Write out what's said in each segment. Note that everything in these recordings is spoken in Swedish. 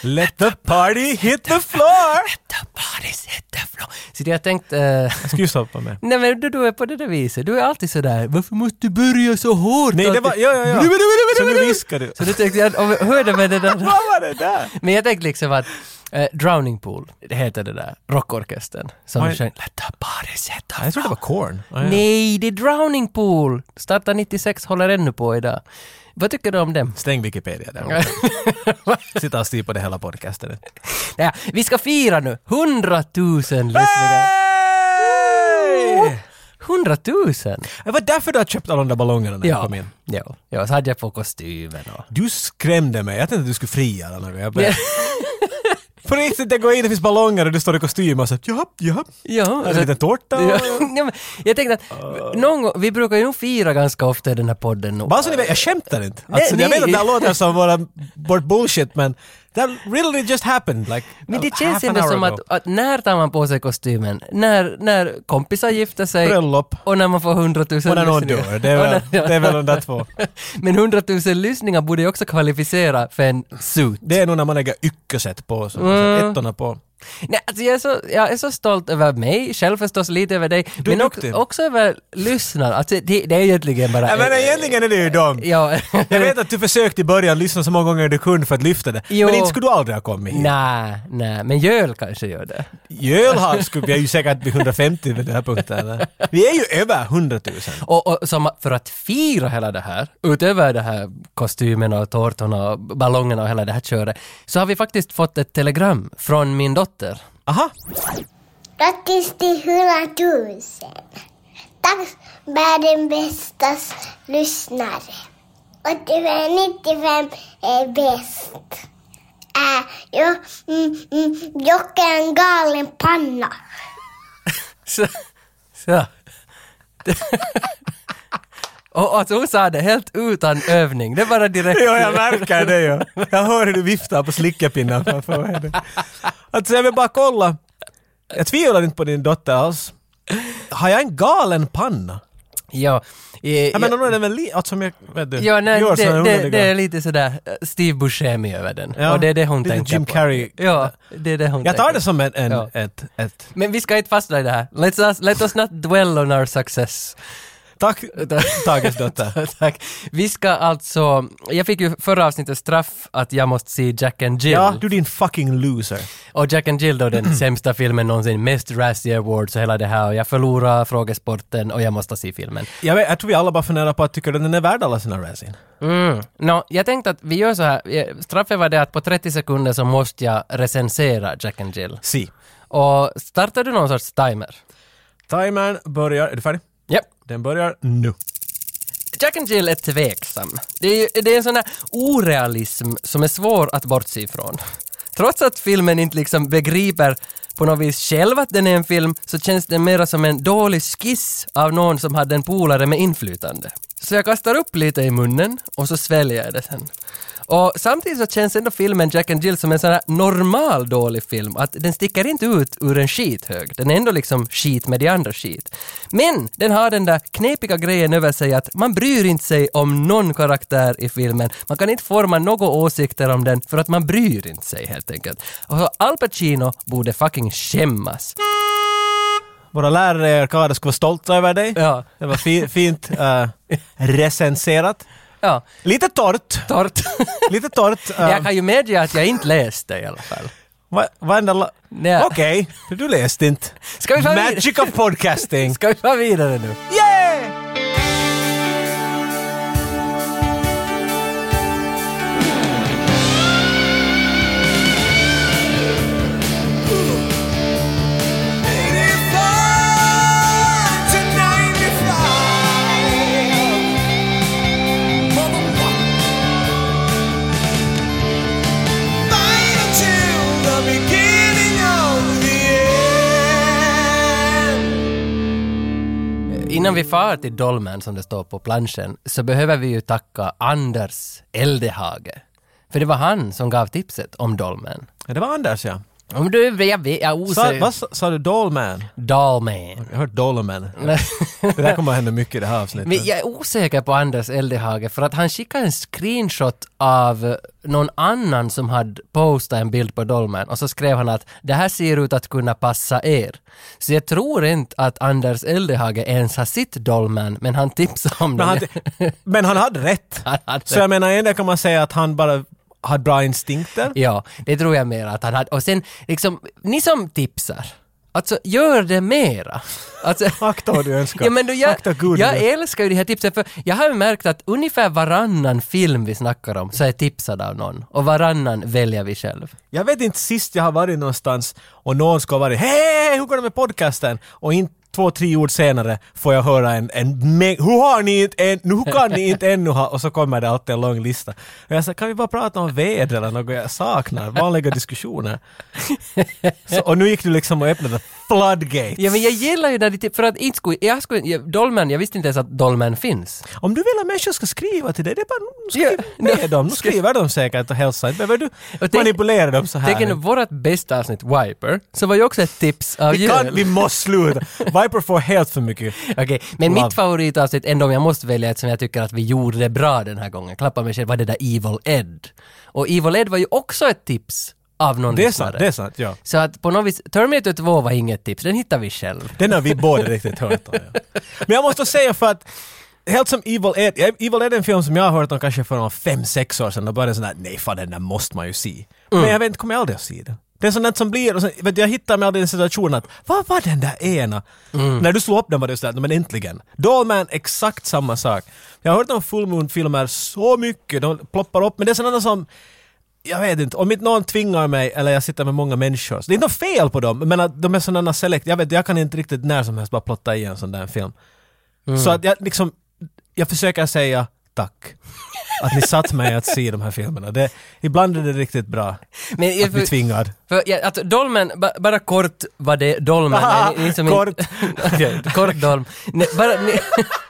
Let the party hit the floor! The bodies hit the floor. Så det jag tänkte... eh, Jag ska ju stoppa med. nej men du, du är på det där viset. Du är alltid sådär, varför måste du börja så hårt? Nej, det Alltid- var... Ja, ja, Blu, blu, ja. blu, Så blu, blu, nu blu. viskar du. Så du tänkte, jag, om jag hörde med det där. Vad var det där? Men jag tänkte liksom att eh, Drowning Pool, det heter det där, rockorkestern. Som Oj. sjöng Let the bodies hit the Jag trodde det var Korn. Ah, ja. Nej, det är Drowning Pool! Startar 96, håller ännu på idag. Vad tycker du om dem? Stäng Wikipedia där. Sitta och styr på det hela podcasten. Ja, vi ska fira nu! 100 000 lyssningar! Hey! 100 000! Det var därför du har köpt alla de där ballongerna när jag kom in. ja, ja, så hade jag på kostymen och... Du skrämde mig. Jag tänkte att du skulle fria eller något. Jag blev... På riktigt, det går in, det finns ballonger och du står i kostym och så jaha, jaha. Ja, alltså- En liten tårta ja, och... men jag tänkte att någon gång, vi brukar ju nog fira ganska ofta i den här podden nu. Bara så ni vet, jag skämtar inte. Alltså, Nej, jag vet att nej. det här låter som våra, vårt bullshit men that really just happened. Like, Men det half känns an ändå hour som ago. att, att när tar man på sig kostymen? När, när kompisar gifter sig? Bröllop. Och när man får 100 000 Och när någon dör. Det är väl, det är väl de där två. Men 100 000 lyssningar borde ju också kvalificera för en suit. Det är nog när man lägger ykköset på, så, så ettorna på. Nej, alltså jag, är så, jag är så stolt över mig, själv förstås lite över dig, Du är men också, duktig. också över lyssnarna. Alltså det, det är egentligen bara... Nej eh, men egentligen är det ju dem. Ja. Jag vet att du försökte i början lyssna så många gånger du kunde för att lyfta det. Jo. Men inte skulle du aldrig ha kommit hit. Nej, nej, men Jöl kanske gör det. Jölhav skulle vi är ju säkert vid 150 vid den här punkten. eller? Vi är ju över 100 000. Och, och som, för att fira hela det här, utöver det här kostymerna och tårtorna och ballongerna och hela det här köret, så har vi faktiskt fått ett telegram från min dotter. Aha! Grattis till 100 000! Tack världens bästa lyssnare. 85-95 är bäst. Äh, jag, mm, mm, jag är en galen panna. Så, så. och alltså hon sa det helt utan övning, det är bara direkt. Ja, jag märker det ju. Jag hör hur du viftar på slickapinnen framför mig. Alltså jag vill bara kolla. Jag tvivlar inte på din dotter alls. Har jag en galen panna? Ja, eh, Jag ja, menar, den är väl li- alltså, som jag... Vet du, ja nej, gör såna det, det, det underliga- är lite sådär eh, Steve Buscemi över den. Ja, och det är det hon lite tänker Jim på. Carrey. Ja, det är det hon Jag tänker tar på. det som en... en Ja. ett, ett. Men vi ska inte fastna i det här. Let's us, let us not dwell on our success. Tack, Tages dotter. Tack. Vi ska alltså, jag fick ju förra avsnittet straff att jag måste se Jack and Jill. Ja, du din fucking loser. Och Jack and Jill då den sämsta filmen någonsin, mest Razzie Awards och hela det här och jag förlorar frågesporten och jag måste se filmen. Jag, vet, jag tror vi alla bara funderar på att tycker du den är värd alla sina resin? Mm. Nå, jag tänkte att vi gör så här, Eh, straffet var det att på 30 sekunder så måste jag recensera Jack and Jill. Si. Och startar du någon sorts timer? Timern börjar... Är du färdig? Japp. Den börjar nu. Jack and Jill är tveksam. Det är, ju- det är en sån här orealism som är svår att bortse ifrån. Trots att filmen inte liksom begriper på något vis själv att den är en film så känns den mera som en dålig skiss av någon som hade en polare med inflytande. Så jag kastar upp lite i munnen och så sväljer jag det sen. Och samtidigt så känns ändå filmen Jack and Jill som en sån här normal dålig film. Att den sticker inte ut ur en skithög. Den är ändå liksom skit med de andra skit. Men den har den där knepiga grejen över sig att man bryr inte sig om någon karaktär i filmen. Man kan inte forma några åsikter om den för att man bryr inte sig helt enkelt. Och så Al Pacino borde fucking skämmas. Våra lärare i Arkada ska vara stolta över dig. Ja, Det var fi- fint eh, recenserat. ja, Lite torrt. torrt. Lite torrt. eh, jag kan ju medge att jag inte läste i alla fall. va- Varenda... la- Nej. Okej, du läste inte. Ska vi fan- Magic of podcasting. Ska vi vara vidare nu? Yeah! Innan vi far till Dolmen som det står på planschen så behöver vi ju tacka Anders Eldehage. För det var han som gav tipset om Dolmen. Ja, det var Anders ja. Om du är jag vet, jag är Sa, osäker. vad sa- sa du? Dolman? Dalman. Jag har hört Dolman. Det där kommer att hända mycket i det här avsnittet. Men jag är osäker på Anders Eldehage för att han skickade en screenshot av eh, någon annan som hade postat en bild på Dolmen och så skrev han att det här ser ut att kunna passa er. Så jag tror inte att Anders Eldehage ens har sitt Dolmen men han tipsade om Men han, den. men han hade rätt. Han hade Så jag menar, ändå kan man säga att han bara hade bra instinkter. Ja, det tror jag mer att han hade. Och sen liksom, ni som tipsar, alltså gör det mera. Alltså, Akta vad du önskar. Ja, men du, jag, Akta Gud. jag älskar ju de här tipsen för jag har ju märkt att ungefär varannan film vi snackar om så är tipsad av någon och varannan väljer vi själv. Jag vet inte sist jag har varit någonstans och någon ska ha varit ”Hej, hur går det med podcasten?” och inte två, tre ord senare får jag höra en, en mäng- ”Hur har ni inte än, hur kan ni inte ännu ha?” och så kommer det alltid en lång lista. Och jag sa ”Kan vi bara prata om väder eller något jag saknar? Vanliga diskussioner?” så, Och nu gick du liksom och öppnade floodgates. Ja men jag gillar ju när de tip- för att inte skulle, jag skulle, jag, Dolmen, jag visste inte ens att Dolmen finns. Om du vill att människor ska skriva till dig, det är bara nu skriv Ja. med dem. Nu skriver de säkert och hälsar. Inte behöver du tänk- manipulera dem så Tänk nu här. vårt bästa avsnitt, Wiper, så var ju också ett tips av Vi, Joel. kan, vi måste sluta! Viper får helt för mycket Okej, men Love. mitt favoritavsnitt ändå om jag måste välja ett som jag tycker att vi gjorde det bra den här gången, klappa mig själv, var det där Evil Ed. Och Evil Ed var ju också ett tips av någon Det är lyssnare. sant, det är sant, ja. Så att på något vis, Terminator 2 var inget tips, den hittar vi själv. Den har vi båda riktigt hört om. Ja. Men jag måste säga för att Helt som Evil Ed, Evil Ed är en film som jag har hört om kanske för någon fem sex år sedan. Då började jag sån där, nej fan den där måste man ju se. Men jag vet inte, kommer jag aldrig att se den? Det är sånt där som blir, och sen, vet, du, jag hittar mig aldrig i den situationen att vad var den där ena? När du slog upp den var det sådär, men äntligen. Dollman, exakt samma sak. Jag har hört om Full Moon-filmer så mycket, de ploppar upp, men det är sådana som jag vet inte, om inte någon tvingar mig eller jag sitter med många människor, så det är inte något fel på dem, men att de är sådana select, jag vet jag kan inte riktigt när som helst bara plotta i en sån där film. Så att jag liksom, jag försöker säga tack. Att ni satt mig att se de här filmerna. Det, ibland är det riktigt bra Men eh, att bli tvingad. för, ja, att Dolmen, ba, bara kort vad det Dolmen Haha, är. Ni, ni som kort. Okej, kort Dolm. Nej, bara, ni,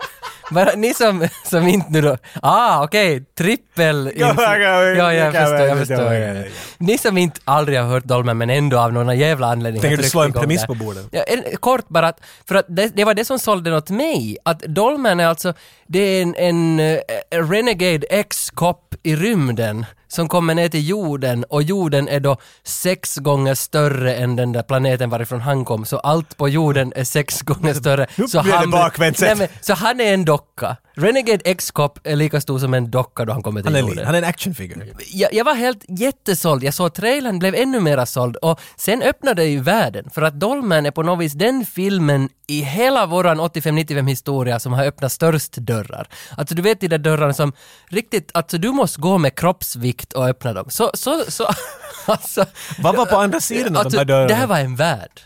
bara ni som, som inte nu då, ah okej, trippel... Ja, ja, ja, ja, jag ja, förstår, ja, jag ja, förstår. ja, ja, ja. Ni som inte aldrig har hört Dolmen men ändå av någon jävla anledning har Tänker du tryckt slå en igång premiss det. på bordet? Ja, en, kort bara, att, för att det, det var det som sålde den åt mig. Att Dolmen är alltså, det är en, en, eh, Renegade X-kopp i rymden som kommer ner till jorden och jorden är då sex gånger större än den där planeten varifrån han kom. Så allt på jorden är sex gånger större. Nu så blir det bakvänt Nej, sett. men, Så han är en docka. Renegade X-kopp är lika stor som en docka då han kommer till Han är, jorden li- han är en actionfigur. jag, jag var helt jättesåld. Jag såg trailern, blev ännu mera såld och sen öppnade ju världen för att Dolmen är på något vis den filmen i hela våran 85-95 historia som har öppnat störst dörrar. Alltså du vet de där dörrarna som riktigt, alltså du måste gå med kroppsvikt och öppna dem. Så, så, så, alltså. Vad var på andra sidan av de Alltså, här dörrarna? det här var en värld.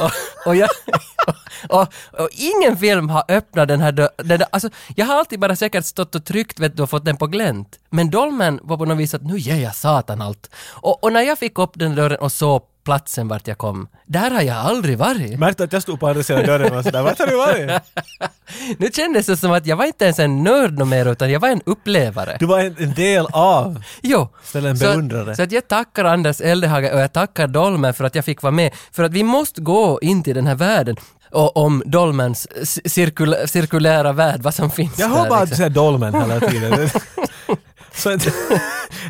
och, och, jag, och, och ingen film har öppnat den här dörren. Alltså, jag har alltid bara säkert stått och tryckt vet du, och fått den på glänt. Men Dolmen var på något vis att nu ger jag satan allt. Och, och när jag fick upp den dörren och såg platsen vart jag kom, där har jag aldrig varit. Märkte att jag stod på andra sidan dörren och var sådär, vart har du varit? Nu kändes det som att jag var inte ens en nörd någon mer utan jag var en upplevare. Du var en, en del av. Jo. Ställ en Så att- beundrare. Så att jag tackar Anders Eldehage och jag tackar Dolmen för att jag fick vara med. För att vi måste gå in till den här världen och om Dolmens c- cirkul- cirkulära värld, vad som finns Jag där. hör bara att du liksom. säger dolmen hela tiden. så att,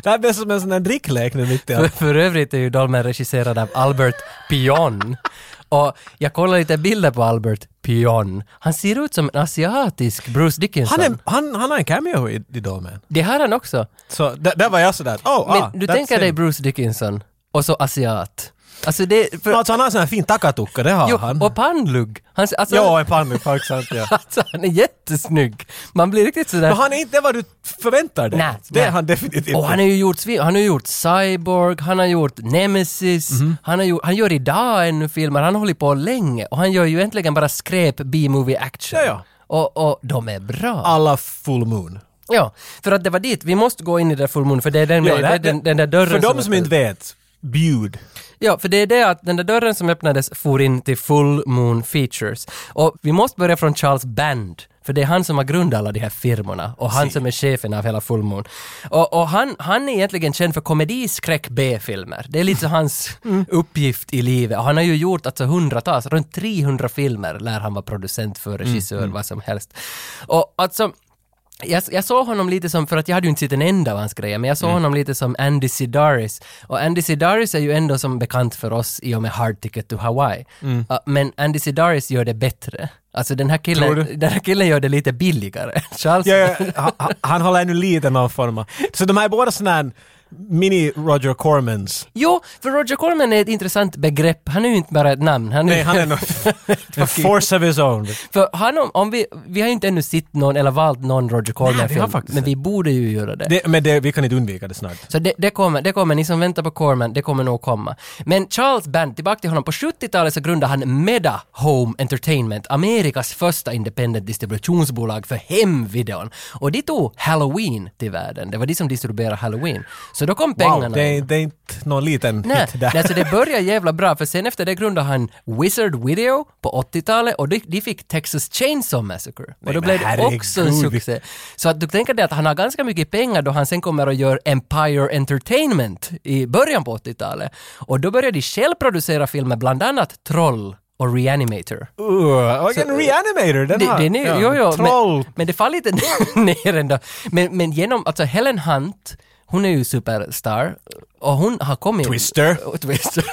det här blir som en sån där dricklek nu mitt i för, allt. för övrigt är ju Dolmen regisserad av Albert Pion. Och jag kollar lite bilder på Albert Pion. Han ser ut som en asiatisk Bruce Dickinson. Han, är, han, han har en cameo i, i Dolmen. Det har han också. Så där, där var jag sådär, oh, Men ah, du that's tänker him. dig Bruce Dickinson och så asiat. Alltså det... För, No, alltså han har sån här fin takatukka, det har jo, han. och pannlugg. Han, ser- alltså, ja, en pannlugg, faktiskt sant ja. Alltså han är jättesnygg. Man blir riktigt sådär... Men han är inte vad du förväntar dig. Nej, det nej. är han definitivt och han inte. har ju gjort, svin- han har gjort Cyborg, han har gjort Nemesis, Mhm. han, har gjort, han gör idag ännu filmer, han har hållit på länge och han gör ju egentligen bara skräp B-movie action. Ja, ja. Och, och de är bra. Alla full moon. Ja, för att det var dit, vi måste gå in i det där full moon för det är den, Ja, med, det här- den, den där dörren För de som inte vet, Bjud. Ja, för det är det att den där dörren som öppnades for in till Full Moon Features. Och vi måste börja från Charles Band, för det är han som har grundat alla de här firmorna och han som är chefen av hela Full Moon. Och, och han, han är egentligen känd för komedi, skräck, B-filmer. Det är lite så hans uppgift i livet. Och han har ju gjort alltså hundratals, runt 300 filmer lär han vara producent för, regissör, vad som helst. Och alltså, jag, jag såg honom lite som, för att jag hade ju inte sett en enda av hans grejer, men jag Mm. såg honom lite som Andy Sidaris. Och Andy Sidaris är ju ändå som bekant för oss i och med Hard Ticket to Hawaii. Mm. Ja, men Andy Sidaris gör det bättre. Alltså den här Tror killen, du? den här killen gör det lite billigare. Charles, Ja, ja, ha- ha- han håller ännu lite någon form av... Så de här är båda sådana här mini-Roger Cormans. Jo, för Roger Corman är ett intressant begrepp. Han är ju inte bara ett namn. Han är, Nej, han är nog... en force of his own. För han, om, om vi, vi har ju inte ännu sett någon eller valt någon Roger Nej, vi har Corman-film, faktiskt men inte. vi borde ju göra det. Det, men det, vi kan inte undvika det snart. Så det, det, kommer, det kommer, ni som väntar på Corman, det kommer nog komma. Men Charles Band, tillbaka till honom, på 70-talet så grundade han Meda Home Entertainment, Amerikas första independent distributionsbolag för hemvideon. Och de tog Halloween till världen, det var de som distribuerade Halloween. Så då kom pengarna Wow, det, är- in. det är inte någon liten Nej, hit där. nej, så det började jävla bra, för sen efter det grundade han Wizard Video på 80-talet och de, de fick Texas Chainsaw Massacre. Och då men blev det också en herregud. succé. Så att du tänker dig att han har ganska mycket pengar då han sen kommer och gör Empire Entertainment i början på 80-talet. Och då började de själv producera filmer, bland annat Troll och Reanimator. Uh, och en reanimator, den Det, har... den är, jo, jo, troll. Men, men det faller lite ner ändå. Men, men genom, alltså Helen Hunt, hon är ju superstar och hon har kommit... Twister. Och Twister.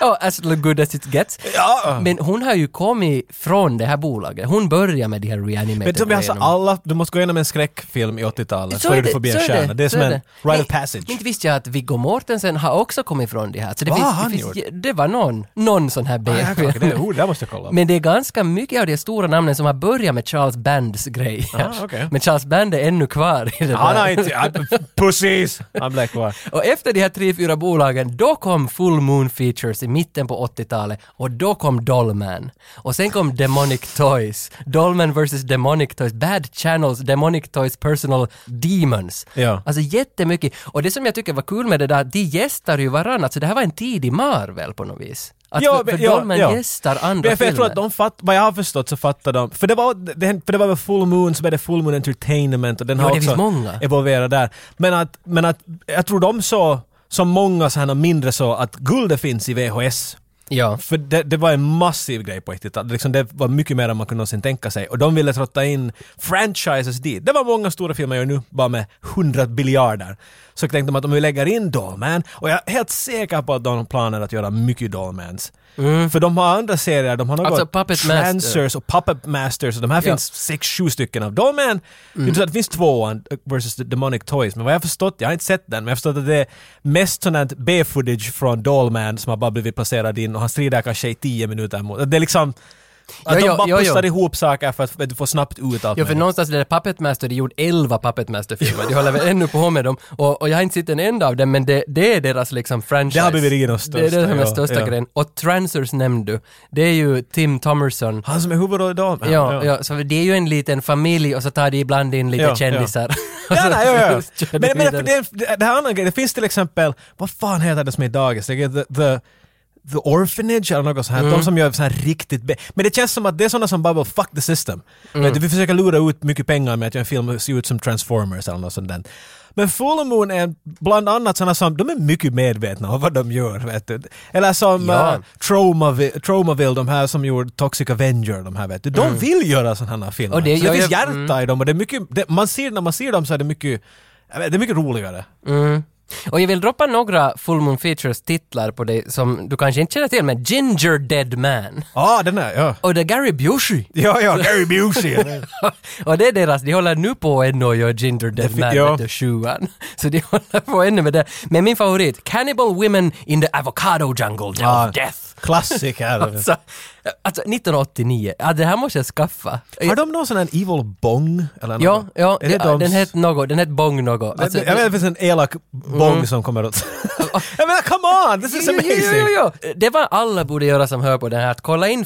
ja, as good as it gets. Ja. Men hon har ju kommit från det här bolaget. Hon börjar med de här reanimated Men som vi har sagt, grejerna. alla, du måste gå igenom en skräckfilm i 80-talet så, är du förbi en så är stjärna. Det är så som en det. rite of Nej, passage. Inte visste jag att Viggo Mortensen har också kommit från det här. Så det Vad finns, har det, han finns, det var någon, någon sån här Ah, jag kan- B-film. det är- oh, det här måste jag kolla. Men det är ganska mycket av de stora namnen som har börjat med Charles Bands grej. Ah, okej. Men Charles Band är ännu kvar i det Han har där. inte... han- Pussies! Han blev kvar. Och efter de här tre, fyra bolagen, då kom Full Moon Features i mitten på 80-talet och då kom Dollman. Och sen kom Demonic Toys. Dollman vs Demonic Toys, Bad Channels, Demonic Toys Personal Demons. Ja. Alltså jättemycket. Och det som jag tycker var kul med det där, de gästar ju varandra. Alltså det här var en tid i Marvel på något vis. Att för, för Dollman gästar andra Men för Jag filmer. tror att de fatt, vad jag har förstått så fattar de, för det var, det, för det var väl Full Moon, så blev det Full Moon Entertainment och den Ja, har det finns också många. evolverat där. Men att, men att, jag tror de så som många så här och mindre så att guldet finns i VHS. Ja. För det, det var en massiv grej på 80-talet. Liksom det var mycket mer än man kunde någonsin tänka sig. Och de ville trotta in franchises dit. Det var många stora filmer jag gör nu, bara med 100 biljarder. Så tänkte de att om vi lägger in Dollman, och jag är helt säker på att de har planer att göra mycket Dollmans. För de har andra serier, de har något Mm. Alltså Puppet Master. Trancers och Puppet Masters, och de här Ja. finns sex, sju stycken av dem. Men det är så att det finns tvåan versus the Demonic Toys, men vad jag har förstått, jag har inte sett den, men jag har förstått att det är mest sånt här B-footage från Dollman som har bara blivit placerad in och han strider kanske i tio minuter mot... Det är liksom... Att Jo, jo, de bara jo, jo. pussar ihop saker för att för att få snabbt ut allt. Ja, för möjligt. någonstans det där Puppet Master, de gjorde elva Puppet Master-filmer. De håller väl ännu på med dem. Och, och jag har inte sett en enda av dem, men det, det är deras liksom franchise. Det har blivit Rinos Det är det som är största, ja, största ja. grejen. Och Transers nämnde du. Det är ju Tim Thomerson. Han som är huvudroll i Dollman. Ja, ja. så det är ju en liten familj och så tar de ibland in lite Ja, ja. kändisar. Och Ja, så- nej, ja, så ja. Alltså, kör de Men, men vidare. det, det, det här andra grejen, det finns till exempel, vad fan heter det som är dagis? Det är the, the, the Orphanage eller något sånt här. Mm. De som gör så här riktigt be- Men det känns som att det är sådana som bara fuck the system. Mm. Vet du, vi försöker lura ut mycket pengar med att göra en film och se ut som Transformers eller något sånt där. Men Full Moon är bland annat sådana som, de är mycket medvetna om vad de gör. Vet du. Eller som Ja. eh, Traumavi- Traumaville, de här som gjorde Toxic Avenger, de här vet du. De Mm. vill göra sådana här filmer. Och det så det gör finns ju- Mm. hjärta i dem och det är mycket, det, man ser, när man ser dem så är det mycket, jag vet, det är mycket roligare. Och jag vill droppa några Full Moon Features-titlar på dig som du kanske inte känner till, men Ginger Dead Man. Ja, ah, den där, ja. Och det är Gary Busey. Ja, ja, Gary Busey. och det är deras, de håller nu på ännu och gör Ginger Dead fi- Man ja. med the sjuan. Så de håller på ännu med det. Men min favorit, Cannibal Women in the Avocado Jungle, Day Ah. of Death. Klassiker. Alltså, alltså 1989, ja, det här måste jag skaffa. Har de någon sån här Evil Bong? Eller något? Ja, ja, Är det ja, de- den hette något, den hette Bong något. Alltså, Mm. jag vet att det finns en elak bong som kommer åt... jag menar, come on! This is Jo, jo, jo, amazing! jo, jo. Det var alla borde göra som hör på den här, att kolla in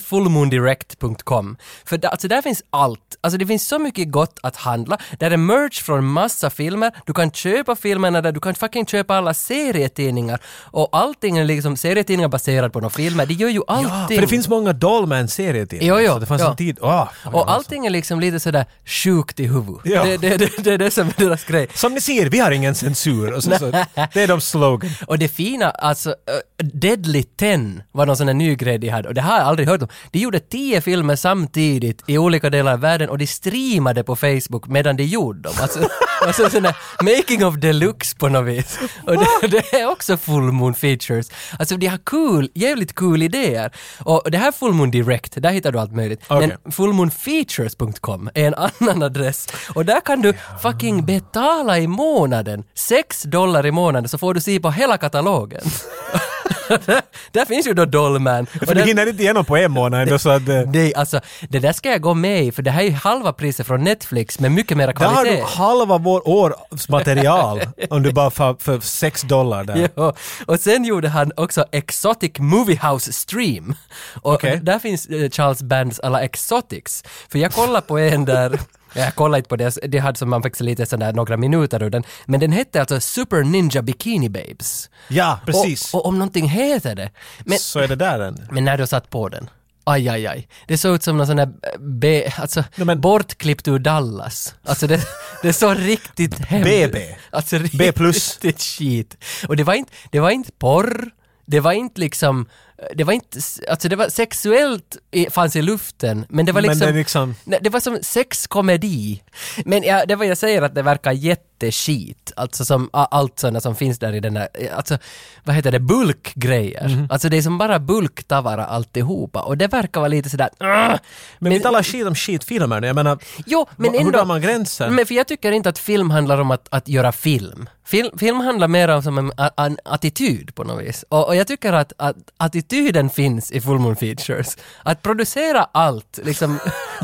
fullmoondirect.com. För da, alltså där finns allt. Alltså det finns så mycket gott att handla. Där är merch från massa filmer, du kan köpa filmerna där, du kan fucking köpa alla serietidningar. Och allting är liksom serietidningar baserat på några filmer, det gör ju Ja, allting. för det finns många Dollman-serietidningar. Jo, jo, så det fanns ja. en tid... Ah, Och allting är liksom lite sådär sjukt i huvudet. Ja. Det, det, det, det är det som är deras grej. Som ni ser, vi har ingen censur. Och så, så, det är de slogan. Mm. Och det fina, alltså eh, Deadly Ten var någon sån där ny grej de hade och det har jag aldrig hört om. De gjorde tio filmer samtidigt i olika delar av världen och de streamade på Facebook medan de gjorde dem. Alltså, alltså sån där making of deluxe på något vis. Och det, det är också full moon features. Alltså de har cool, jävligt cool idéer. Och det här full moon direct, där hittar du allt möjligt. Okej. Men fullmoonfeatures.com är en annan adress. Och där kan du fucking betala i månaden. 6 dollar i månaden så får du se på hela katalogen. där, där finns ju då Dollman. Och För du där- hinner inte igenom på en månad ändå så att... eh, Nej, alltså det där ska jag gå med i för det här är ju halva priset från Netflix med mycket mera Där har kvalitet. du halva vår års material om du bara får för 6 dollar där. Ja, och sen gjorde han också Exotic Movie House Stream. Och Okej. där finns eh, Charles Bands alla Exotics. För jag kollade på en där, jag kollade inte på det, det hade som man fick se lite sådär några minuter ur den, men den hette alltså Super Ninja Bikini Babes. Ja, precis. Och, och om någonting heter det. Men, så är det där den. men när du satt på den, aj aj aj, det såg ut som någon sån där eh, B, alltså men- bortklippt ur Dallas. Alltså det, det såg riktigt hemskt ut. BB. Alltså riktigt B plus. riktigt skit. Och det var inte, det var inte porr, det var inte liksom, det var inte, alltså det var sexuellt i, fanns i luften, men det var Men liksom, det är liksom- Nej, det var som sexkomedi. Men ja, det var jag säger att det verkar jätteskit, alltså som a- allt sådana som finns där i den där, alltså vad heter det, bulkgrejer. Mhm. Alltså det är som bara bulktavara alltihopa och det verkar vara lite sådär, "Ugh." Men vi talar skit om skitfilmer nu. Jag menar, Jo, men hur ändå... drar man gränsen? Men för jag tycker inte att film handlar om att, att göra film. film. Film handlar mer om som en, en attityd på något vis. Och, och jag tycker att, att attityden finns i Full Moon Features. Att producera allt, liksom,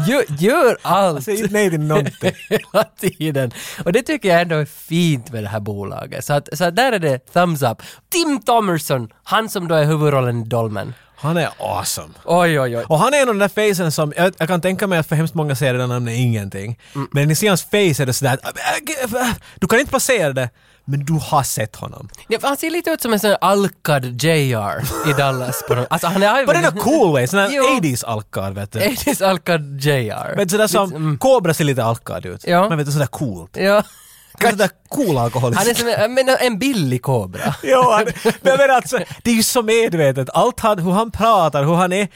gör, gör allt Säg nej till någonting. hela tiden. Och det tycker jag ändå är fint med det här bolaget. Så, att, så att där är det thumbs up. Tim Thomerson, han som då är huvudrollen i Dolmen. Han är awesome. Oj, oj, oj. Och han är en av de där facen som, jag, jag kan tänka mig att för hemskt många ser det där namnet ingenting. Mm. Men ni ser hans face är det sådär, att, äh, äh, du kan inte placera det, men du har sett honom. Ja, Han ser lite ut som en sån alkad JR i Dallas. På något- alltså han är But in a cool way, sån här Jo. Eh, 80s alkad vet du. 80s alkad JR. Men sådär som, Kobra ser lite alkad ut. mm. Ja. Men vet du, sådär coolt. ja. Sådär cool alkoholist. Han är som en, men en billig kobra. Jo, han, men jag menar alltså, det är ju så medvetet. Allt han, hur han pratar, hur han är,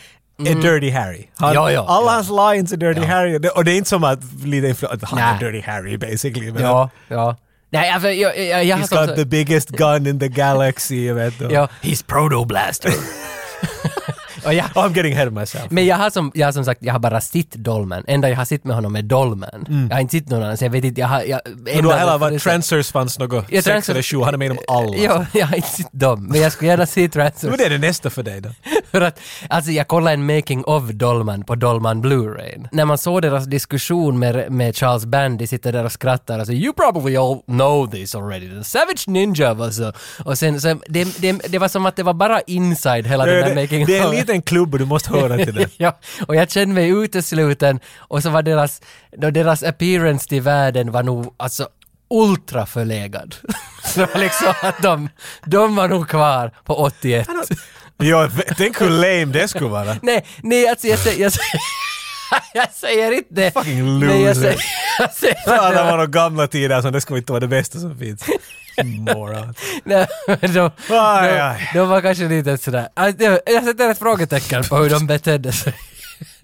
är Dirty Harry. Han, Mm. Ja, ja, alla ja. hans lines är Dirty Harry. Det- Och det är inte som att lite influ- att han Nej. är Dirty Harry basically. Men Ja, ja. Nej, alltså, jag, jag, jag He's got the biggest gun in the galaxy, jag vet du. ja. He's protoblaster. och jag, Oh, I'm getting ahead of myself. men jag har, som, jag har som sagt, jag har bara sett Dolmen. Enda jag har sett med honom är Dolmen. Jag har inte sett någon annan, så jag vet inte. Jag har, jag, Men Mm. du har hela varit trans Transers fanns något Ja, sex Transers- eller sju, han är med i dem alla. Ja, jag har inte sett dem, men jag skulle gärna se Transers. Men det är det nästa för dig då. För att, alltså jag kollade en Making of Dolman på Dolman Blu-ray. När man såg deras diskussion med, med Charles Band, de sitter där och skrattar och säger “You probably all know this already, the Savage Ninja” var så. Och sen, så, det, det, det var som att det var bara inside hela den där Det, Making det är of. en liten klubb och du måste höra till det. ja, och jag kände mig utesluten och så var deras, då deras appearance till världen var nog alltså ultra förlegad. det var liksom att de, de var nog kvar på 81. Jo, tänk hur lame det skulle vara. Nej, nej alltså jag säger... Jag säger jag säger inte det. Fucking Nej, jag loser. säger, jag säger att Fan, det det var, var de gamla tider som det skulle inte vara det bästa som finns. Moron. nej, de, Aj, de, aj. de var kanske lite sådär. Alltså, jag- jag sätter ett frågetecken på hur de betedde sig.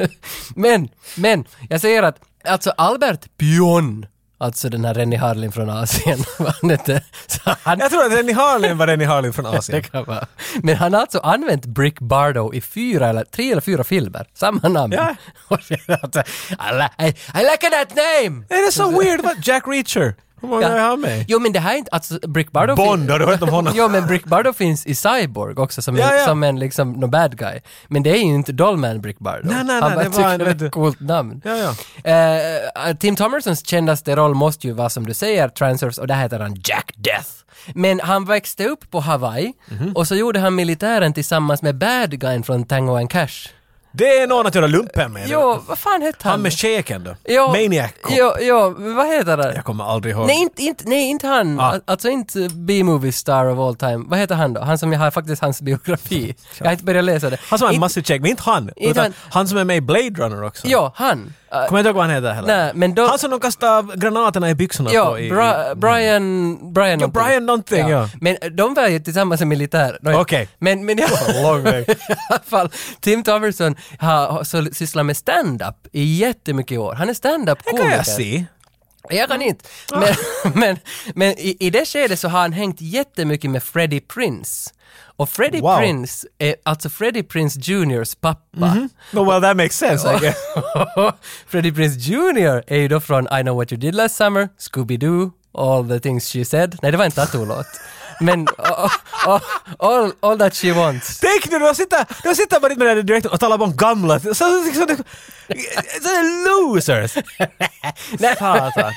Men, men, jag säger att alltså Albert Pion, alltså den här Rennie Harlin från Asien, vad han hette, så han Jag tror att Rennie Harlin var Rennie Harlin från Asien. Det kan vara. Men han har alltså använt Brick Bardo i fyra eller tre eller fyra filmer. Samma namn. Ja. Och sen alltså, I, li- I, I like that name! Är det så weird? Vad- Jack Reacher? Vad är han med? Jo men det här är inte, alltså Brick Bardo... fin- Bond, har du hört om honom? jo men Brick Bardo finns i Cyborg också som, Ja, en, ja. som en liksom, no bad guy. Men det är ju inte Dollman Brick Bardo. Nej, nej, han bara nej, det var tycker en- det är ett coolt namn. Ja, ja. Eh, Tim Thomersons kändaste roll måste ju vara som du säger, Transers, och där heter han Jack Death. Men han växte upp på Hawaii Mhm. och så gjorde han militären tillsammans med bad guyn från Tango and Cash. Det är någon att göra lumpen med. Jo, vad fan hette han? Han med käken då? Jo, Maniac Cop. Jo, jo, vad heter han? Jag kommer aldrig ihåg. Nej, inte, inte, nej, inte han. Ah. Alltså inte B-movie star of all time. Vad heter han då? Han som jag har faktiskt hans biografi. Jag har inte börjat läsa det. han som har en Inte- massiv käk, men inte han. utan han. han. som är med i Blade Runner också. Ja, han. Uh, Kommer jag inte ihåg vad han heter heller. Nej, men då- Han som de kastar granaterna i byxorna ja, på. I, Bra, Brian... Brian Ja, Brian någonting, ja. Men eh, de var ju tillsammans i militär. Nå, Okej. Men, men jag... Lång väg. I alla fall, Tim Thomerson har, har så, sysslar med stand-up i jättemycket år. Han är Det kan stand-up-komiker. jag se. Jag kan inte. Men, men, men i, i det skedet så har han hängt jättemycket med Freddie Prince. Och Freddie Wow. Prince är alltså Freddie Prince Juniors pappa. No, well that makes sense. I guess. Freddie Prince Jr är ju då från I know what you did last summer, Scooby-Doo, All the things she said. Nej, det var en Tattoo-låt. Men oh, oh, oh, all, all that she wants. Tänk nu, de sitter, de sitter bara med den här direktorn och talar om gamla... Så, så, så, så, så losers! Satan.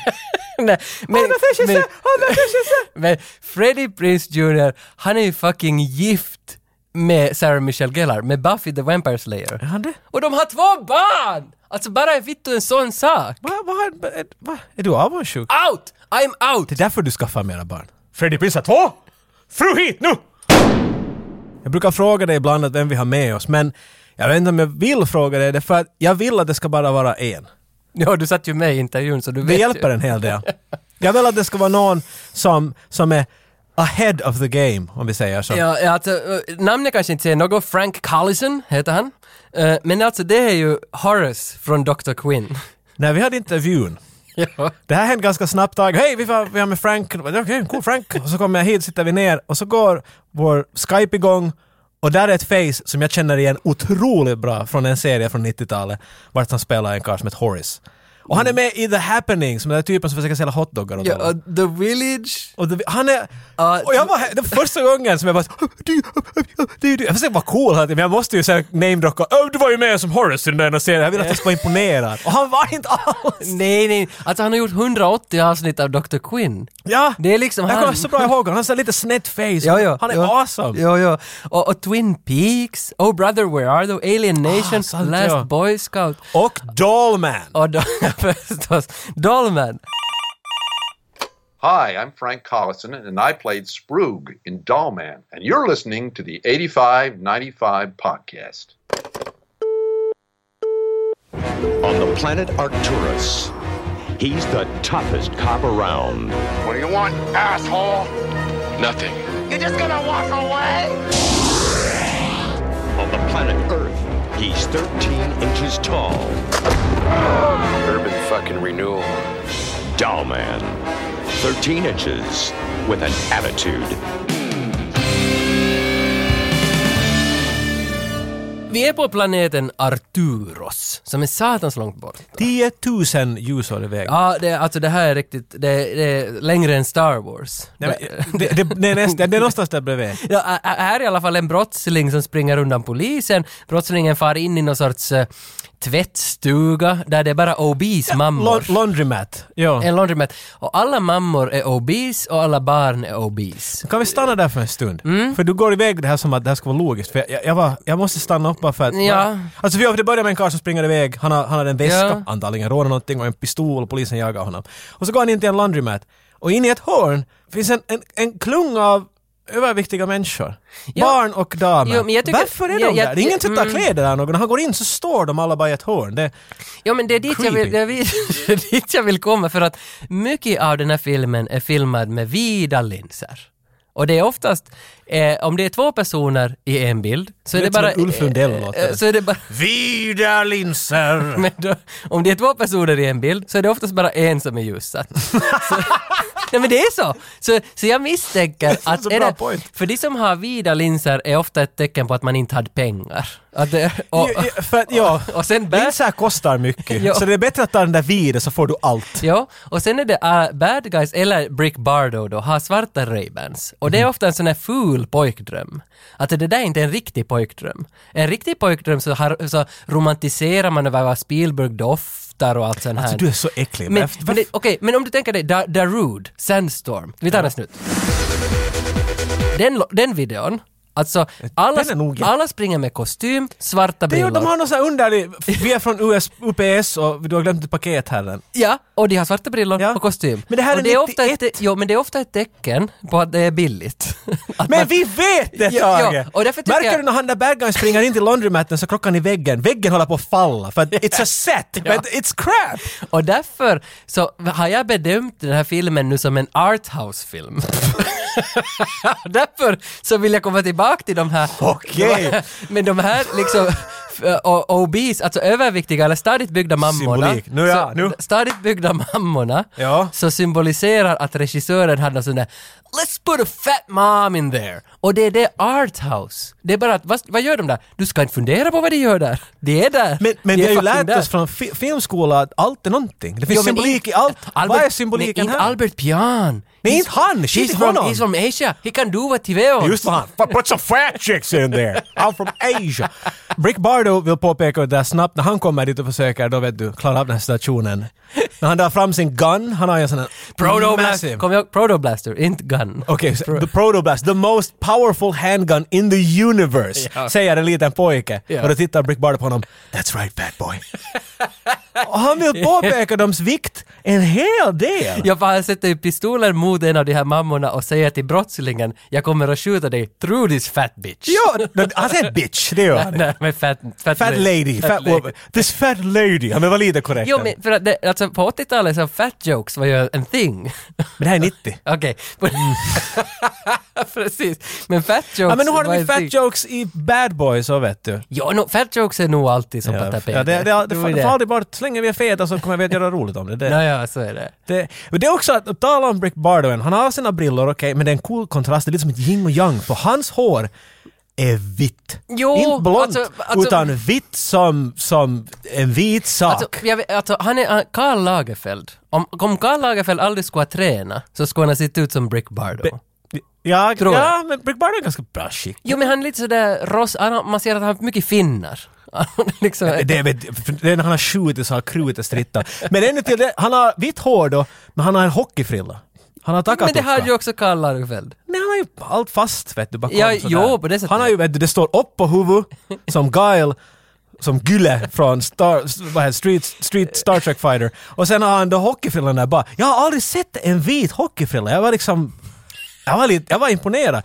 Nej, men, Andra kanske men, så, andra kanske så. men Freddie Prince Jr, han är ju fucking gift med Sarah Michelle Gellar, med Buffy the Vampire Slayer. Är han det? Och de har två barn! Alltså bara vittu en sån sak. Va, va, va, va? Är du avundsjuk? Out! I'm out! Det är därför du skaffar mera barn. Freddie Prince har två! Fru hit nu! Jag brukar fråga dig ibland att vem vi har med oss, men jag vet inte om jag vill fråga dig det, för att jag vill att det ska bara vara en. Ja, du satt ju med i intervjun så du vet Det ju. hjälper en hel del. Jag vill att det ska vara någon som, som är ahead of the game, om vi säger så. Ja, ja, alltså, eh, namnet kanske inte säger något. Frank Collison heter han. Eh, Men alltså det är ju Horace från Dr. Quinn. När vi hade intervjun, ja. det här hände ganska snabbt. tag. Hej, vi var, vi var med Frank. Okej, cool Frank. Och så kommer jag hit, sitter vi ner och så går vår Skype igång och där är ett face som jag känner igen otroligt bra från en serie från 90-talet vart han spelar en karl som heter Horace. Och han är med i The Happening, som den där typen som försöker sälja hotdoggar åt alla. ja, och The Village. Och det, han är... Ja, och jag var här- det var första gången som jag bara så, du, du, du. Jag försökte vara cool här, men jag måste ju säga namedroppa. Oh, du var ju med som Horace i den där ena serien. Jag ville att jag skulle vara imponerad. Och han var inte alls! Nej, nej. Alltså han har gjort 180 avsnitt av Dr. Quinn. Ja! Det är liksom jag kommer han. så bra ihåg honom. Han har så här lite snett face. Ja, ja, han är ja. awesome! Ja, ja. Och, och Twin Peaks, Oh Brother Where Are Thou, Alien Nation, Ah, sant, Last ja. Boy Scout. Och Dollman! Och då, förstås, Dollman. Hi, I'm Frank Collison, and I played Sprug in Dollman, and you're listening to the 8595 podcast. on the planet Arcturus. He's the toughest cop around. What do you want, asshole? Nothing. You're just gonna walk away? On the planet Earth, he's 13 inches tall. urban fucking renewal. Doll man. 13 inches with an attitude. Vi är på planeten Arturos, som är satans långt bort. 10 000 ljusår iväg. Ja, det, alltså det här är riktigt, det, det är längre än Star Wars. Nej, men, det, det, det, är nästan- det är någonstans där bredvid. Ja, ä- ä- här är i alla fall en brottsling som springer undan polisen. Brottslingen far in i någon sorts eh, tvättstuga där det är bara obese mammor. La- laundromat. Ja. en laundromat. Och alla mammor är obese och alla barn är obese. Kan vi stanna där för en stund? Mm. För du går iväg det här som att det här ska vara logiskt. För jag, jag, var, jag måste stanna upp bara för att... Ja. Alltså för det börjar med en karl som springer iväg, han har, han har en väska, Ja. antagligen rånar någonting och en pistol och polisen jagar honom. Och så går han in till en laundromat och in i ett hörn finns en, en, en klung av överviktiga människor. Ja. Barn och damer. Jo, men jag tycker- Varför är ja, de jag- där? Det är ingen som tar mm. kläder där någon. När han går in så står de alla bara i ett hörn. Det, Ja men det är dit jag, vill, Creepy. det är vi- det är dit jag vill komma för att mycket av den här filmen är filmad med vida linser. Och det är oftast, eh, om det är två personer i en bild, så är det Lät som bara... eh, en Ulf Lundell låter. så är det bara Vida linser! men då, om det är två personer i en bild så är det oftast bara en som är ljussatt. så, nej men det är så! Så, så jag misstänker att... Så är bra det, point. För de som har vida linser är ofta ett tecken på att man inte hade pengar. Att det, och, Ja, ja, för att, ja. och sen bär, Linser kostar mycket, Ja. så det är bättre att ta den där vida så får du allt. Ja, och sen är det uh, bad guys, eller Brick Bardo då, har svarta Ray-Bans. Och Mhm. det är ofta en sån här ful pojkdröm. Att det där är inte en riktig pojkdröm. En riktig pojkdröm så, har, så romantiserar man över vad Spielberg doftar och allt sånt här. Alltså, du är så äcklig. Men, Varför- men det- Okej, men om du tänker dig Da- Darude, Sandstorm. Vi tar en snutt. Den, lo- den videon, alltså alla, Den är nog- alla springer med kostym, svarta Det är, brillor. ju- de har någon sån här underlig... Vi är från US, UPS och du har glömt ett paket här. Den. Ja, och de har svarta brillor Ja. och kostym. Men det här och är ofta ett, 91. jo, men det är ofta ett tecken på att det är billigt. Att Men man- vi vet det Ja, Tage! ja, och därför tycker Märker jag- du när han där bad guyn springer in till laundromatten så krockar han i väggen. Väggen håller på att falla för att it's a set, but it's crap! Och därför så har jag bedömt den här filmen nu som en arthouse-film. därför så vill jag komma tillbaka till de här... Okej. de här- Men de här liksom... f- Och obese, alltså överviktiga eller stadigt byggda mammorna. Symbolik. Nu ja, så, nu. Stadigt byggda mammorna. Ja. Så symboliserar att regissören hade någon sån där “Let's put a fat mom in there”. Och det är det arthouse. Det är bara att, vad, vad gör de där? Du ska inte fundera på vad de gör där. Det är där. Men, men De vi har ju är lärt fucking där. oss från fi- filmskola att allt är någonting. Det finns Jo, men symbolik inte- i allt. Albert- Vad är symboliken men här? Inte Albert Pian. Nej, He's- inte han. Skit i he's from, honom. he's from Asia. He can do what he will. Just vad han. But Oh, put some fat chicks in there. I'm from Asia. Brick Bardo vill påpeka det där snabbt när han kommer dit och försöker då vet du klara av den här situationen. När han drar fram sin gun, han har ju en sån här Protoblaster. massive- Kom ihåg, Protoblaster, inte gun. Okej, så the protoblast, the most powerful handgun in the universe, Ja. säger en liten pojke. Ja. Och då tittar Brick Bardo på honom. That's right bad boy. och han vill påpeka dems vikt en hel del. Jag bara sätter ju pistoler mot en av de här mammorna och säger till brottslingen, jag kommer att skjuta dig through this fat bitch. Ja, d- han säger bitch, det gör han. Nej, men fat, fat, Fat lady, fat woman. This fat lady. Han vill vara lite korrekt. Jo, men... men för att det, alltså på 80-talet så fat jokes var ju en thing. det här är 90. Okej. Mm. Precis. Men fat jokes Ja, men nu var har de ju en fat thing. jokes i Bad Boys, så vet du. Ja, no, fat jokes är nog alltid som på Ja, tapeten. ja, det, det, det, Jo, får- det får aldrig bort. Så länge vi är feta så kommer vi att göra roligt om det. det. Ja, ja, så är det. Det, men det är också att, att tala om Brick Bardoen, han har sina brillor, okej, men det är en cool kontrast, det är lite som ett yin och yang, för hans hår är vitt. Jo, Inte blont, alltså- alltså- utan vitt som, som en vit sak. Alltså, jag vet, alltså han är, han- Karl Lagerfeld. Om, om Karl Lagerfeld aldrig skulle ha tränat så skulle han ha sett ut som Brick Bardo. ja, tror ja, jag. men Brick Bardoen är ganska bra skick. jo, men han är lite sådär ross, han, har- man ser att han har mycket finnar. liksom, Det är, väl- det är när han har skjutit så har krutet strittat. Men ännu till det, han har vitt hår då, men han har en hockeyfrilla. Han har men det hade ju takatucka. också Karl Lagerfeld. Nej, han har ju allt fast vet du, bakom Ja, sådär. jo, på det sättet. Han har ju, vet du, det står upp på huvudet, som Guile, som Gyle från Star, s- vad heter, Street, Street Star Trek Fighter. Och sen har han då hockeyfrillan där bara. Jag har aldrig sett en vit hockeyfrilla. Jag var liksom, jag var lite, jag var imponerad.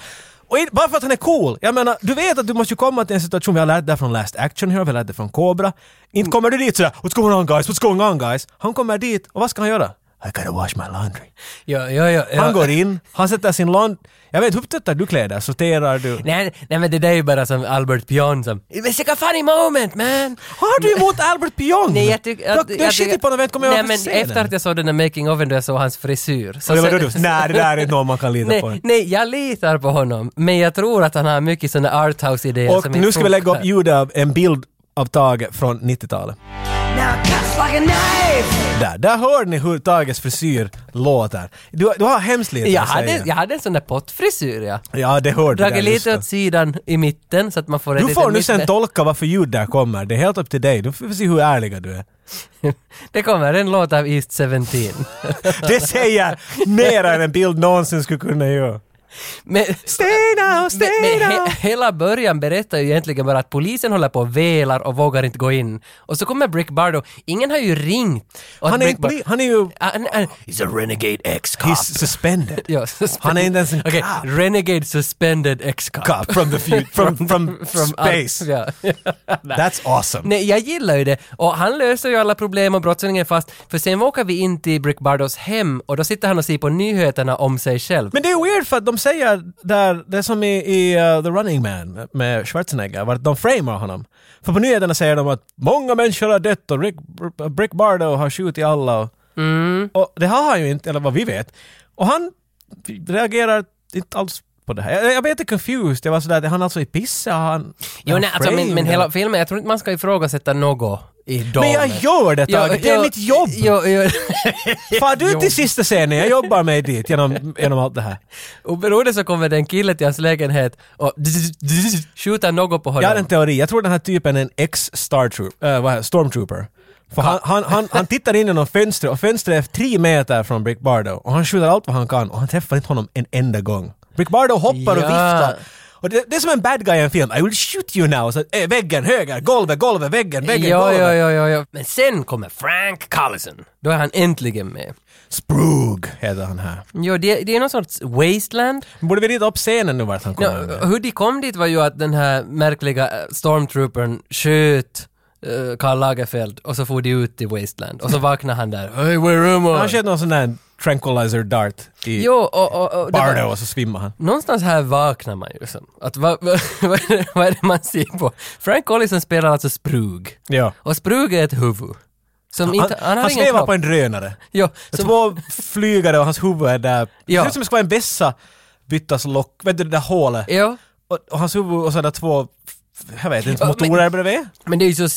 Och in- bara för att han är cool. Jag menar, du vet att du måste ju komma till en situation, vi har lärt det här från Last Action Hero, vi har lärt det från Cobra. Mm. Inte kommer du dit sådär, what's going on guys, what's going on guys? Han kommer dit, och vad ska han göra? I gotta wash my laundry. Ja, ja, ja, ja. Han går in, han sätter sin lån... Jag vet, hur tvättar du kläder? Sorterar du? Nej, nej, men det där är ju bara som Albert Pion som “It's like a funny moment man”. Har du emot Albert Pion? Nej, jag tycker... Du, du har skitit på honom, vet kommer typ, jag Nej, att men se efter att jag såg den där making ofen då jag såg hans frisyr. Så den? sen- Jag... Nej, det där är inte någon man kan lita på. Nej, nej, jag litar på honom, men jag tror att han har mycket såna arthouse-idéer Och som nu inte ska vi lägga upp funkar. ljud av en bild av Tage från 90-talet. Där, där hör ni hur Tages frisyr låter. Du, du har hemskt lite jag att hade, säga. jag hade en sån där pottfrisyr, ja. Ja, det hörde Dragit just lite det. åt sidan i mitten så att man får ett Du får litet nu sen mitten. tolka varför ljud där kommer. Det är helt upp till dig. Du får se hur ärliga du är. Det kommer en låt av East 17. Det säger mer än en bild någonsin skulle kunna göra. Men, Stay now, stay men, men now. he, hela början berättar ju egentligen bara att polisen håller på och velar och vågar inte gå in. Och så kommer Brick Bardo. Ingen har ju ringt. Och Han är, Brick inte, Bar- poli- han är ju... han, han, He's a renegade ex-cop. He's suspended. Ja, Han är inte ens en Ah. Okej, cop. Renegade suspended ex-cop. Cop from the future, from, from, space. Ja. That's awesome. Nej, jag gillar ju det. Och han löser ju alla problem och brottslingen är fast. För sen åker vi in till Brick Bardos hem och då sitter han och ser på nyheterna om sig själv. Men det är weird för att de säger där, det är som i, i uh, The Running Man med Schwarzenegger, vart de framar honom. För på nyheterna säger de att många människor har dött och Rick, Brick Bardo har skjutit alla. Och, Mm. och det har han ju inte, eller vad vi vet. Och han reagerar inte alls på det här. Jag, jag blev lite confused, jag var sådär, är han alltså i pissa? Har Han, är Jo, han nej, alltså, men, framed, men eller? hela filmen, jag tror inte man ska ifrågasätta något i damen. Men jag gör det, Tage. Det är mitt jobb. Jo, jo, Far du till sista scenen, jag jobbar mig dit genom, genom allt det här. Oberoende så kommer den killen till hans lägenhet och skjuter något på honom. Jag har en teori. Jag tror den här typen är en ex-Star Troop, äh, vad är det? Stormtrooper. För han, han, han, han tittar in genom fönstret och fönstret är tre meter från Brick Bardo och han skjuter allt vad han kan och han träffar inte honom en enda gång. Brick Bardo hoppar och Ja. viftar. Och det, det är som en bad guy i en film. I will shoot you now! Så, eh, väggen, höger, golvet, golvet, väggen, väggen, ja, golvet. ja, ja, ja, ja. Men sen kommer Frank Collison. Då är han äntligen med. Sprug heter han här. Jo, det, det är någon sorts wasteland. Borde vi rita upp scenen nu vart han Ja, kommer? med? hur de kom dit var ju att den här märkliga eh, stormtroopern sköt eh, Karl Lagerfeld och så for de ut i wasteland och så vaknade han där. Hey, where am I? Han sköt någon sån där tranquilizer dart i Jo, och, och, och det var- Bardo och så svimmar han. Någonstans här vaknar man ju som. Att vad va, vad är det- vad är det man ser på? Frank Collison spelar alltså Sprug. Ja. Och Sprug är ett huvud. Som Han, inte, han har han ingen svävar kropp. på en drönare. Jo, Det är som- Två flygare och hans huvud är där. Ja. Det ser ut som det ska vara en vässa byttas lock, vet du det där hålet? jo, Och, och hans huvud och sådana två, jag vet inte, Ja, motorer bredvid. men det är ju så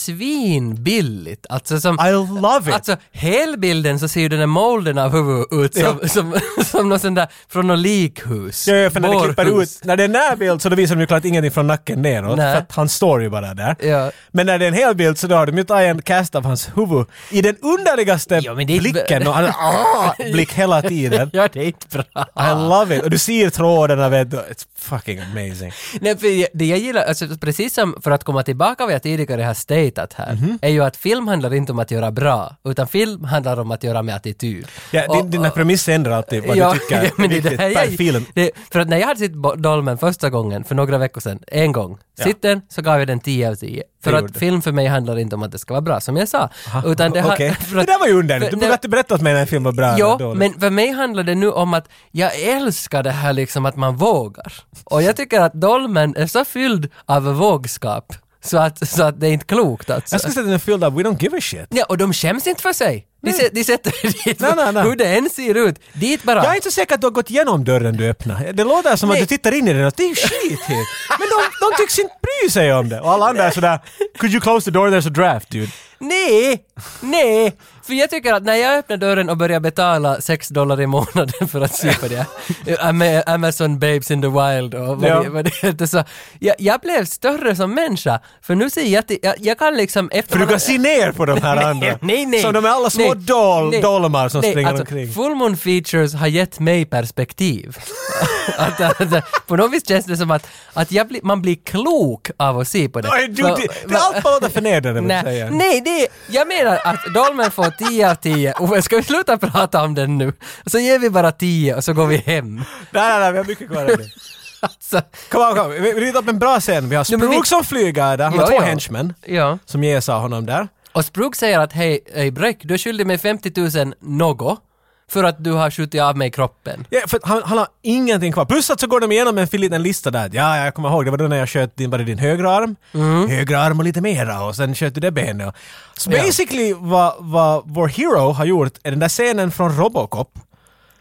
svinbilligt. Alltså som... I love it! Alltså helbilden så ser ju den där molden av huvudet ut som, Ja. som, som någon sån där från något likhus. Ja, ja, för när det klipper Bårhus. ut, när det är närbild så då visar de ju klart ingenting från nacken neråt, Nej. för att han står ju bara där. Ja. Men när det är en hel bild så då har de ju tagit en cast av hans huvud i den underligaste Ja, men det är- blicken och han ah, blick hela tiden. Ja, det är inte bra. I love it! Och du ser trådarna vet du, it's fucking amazing. Nej, för jag- det jag gillar, alltså, precis som för att komma tillbaka vad jag tidigare har statat här, Mhm. är ju att film handlar inte om att göra bra, utan film handlar om att göra med attityd. Ja, Och- din, dina och- premisser ändrar alltid vad du tycker ja, men det är är det viktigt här per jag, film. Det, för att när jag hade sett Bo- Dolmen första gången, för några veckor sedan, en gång, Ja. sitten så gav jag den 10 av 10. För Det att gjorde. film för mig handlar inte om att det ska vara bra, som jag sa. Utan det, har- Okej, för det att- där var ju underligt. för- Du borde nej, alltid berätta åt mig när en film var bra eller Ja, dålig. men för mig handlar det nu om att jag älskar det här liksom att man vågar. Och jag tycker att Dolmen är så fylld av vågskap så att, så att det är inte klokt alltså. Jag skulle säga att den är fylld av We Don't Give a Shit. Ja, och de skäms inte för sig. De, se, de sätter dit Nej, nej, nej. hur det än ser ut. Dit bara. Jag är inte så säker att du har gått igenom dörren du öppnar. Det låter som Nej. att du tittar in i den och det är ju skit här. Men de, de tycks inte bry sig om det. Och alla andra är sådär “Could you close the door? There's a draft dude”. Nej, nej. För jag tycker att när jag öppnar dörren och börjar betala 6 dollar i månaden för att se på det, Ama- Amazon Babes in the Wild och vad, Ja. det, vad det heter, så jag, jag blev större som människa. För nu ser jag till, jag, jag kan liksom efter... För du kan se ner på de här andra. Nej, nej. Som de är alla små Nej, dol, nej, dolmar som nej, springer alltså, omkring. Full Moon Features har gett mig perspektiv. att, att, på något vis känns det som att, att jag blir- man blir klok av att se på det. Oj, du, Va- det, det va- är allt bara låter förnedrande vill jag Nej, säga. nej det, jag menar att Dolmen får 10 av 10. Ove, ska vi sluta prata om den nu? Så ger vi bara 10 och så går vi hem. Nej, nej, nej, vi har mycket kvar av det. Alltså, Kom, on, kom. on. Vi ritar upp en bra scen. Vi har Nej, men vi- Sprug som flyger där. Han har Ja, två ja. henchmen ja. som jäsar honom där. Och Sprug säger att hej, hej Breck, du är skyldig mig 50 000 något för att du har skjutit av mig kroppen. Ja, för att han, han har ingenting kvar. Plus att så går de igenom en fin liten lista där. Ja, jag kommer ihåg, det var då när jag sköt din, var det din högra arm, högra arm och lite mera och sen sköt du det benet. och- Så Mm. Ja. basically vad, vad vår hero har gjort är den där scenen från Robocop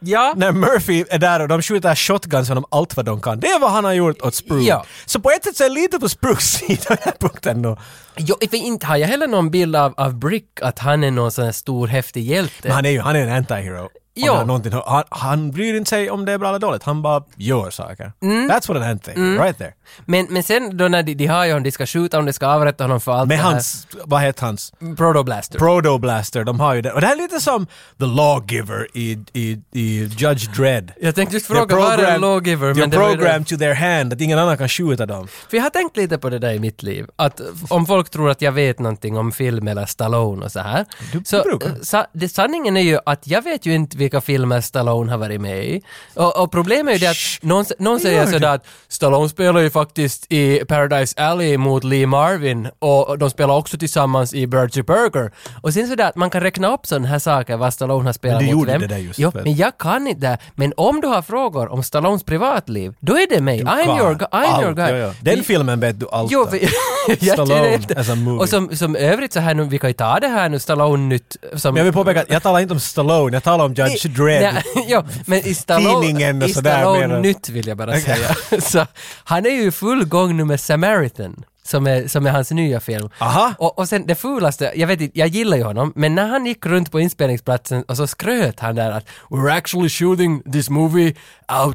Ja. när Murphy är där och de skjuter shotguns honom allt vad de kan. Det är vad han har gjort åt Spruce. Ja. Så på ett sätt så är jag lite på Spruces sida den här punkten nu. Jo, för inte har jag heller någon bild av, av Brick att han är någon sån här stor häftig hjälte. Men han är ju han är en anti-hero. Om Ja. han, någonting- han, han bryr inte sig om det är bra eller dåligt, han bara gör saker. Mm. That's what an anti right there. Men, men sen då när de, de har ju honom, de ska skjuta honom, de ska avrätta honom för allt Med det här. hans, vad heter hans? Protoblaster. Protoblaster, de har ju det. Och det här är lite som The Lawgiver i, i, i Judge Dredd. jag tänkte just They're fråga, vad är en programmed- lawgiver? They're Men det var ju det- programmed to their hand, att ingen annan kan skjuta dem. För jag har tänkt lite på det där i mitt liv, att om folk tror att jag vet någonting om film eller Stallone och så här. Du- så, du brukar. eh, sa, det, sanningen är ju att jag vet ju inte vilka filmer Stallone har varit med i. Och, och problemet är ju det att någon, s- någon säger sådär att Stallone spelar ju faktiskt i Paradise Alley mot Lee Marvin och de spelar också tillsammans i Birds Burger. Och sen sådär att man kan räkna upp sådana här saker vad Stallone har spelat Men du mot gjorde vem. det där just, jo, väl? men jag kan inte det. här. Men om du har frågor om Stallones privatliv, då är det mig. I'm your, gu- I'm your Allt, guy. ja, ja. Den Vi- filmen vet du allt Jo, om. för, jag Stallone tycker inte. as a movie. Och som, som övrigt så här nu, vi kan ju ta det här nu, Stallone nytt. Som, Men jag vill påpeka att jag talar inte om Stallone, jag talar om Judge Dredd. Nej, jo, men i Stallone, Tidningen och i sådär Stallone menar- nytt vill jag bara Okej. säga. Så, han är ju i full gång nu med Samaritan. Som är, som är hans nya film. Aha. Och, och sen det fulaste, jag vet inte, jag gillar ju honom, men när han gick runt på inspelningsplatsen och så skröt han där att “We're actually shooting this movie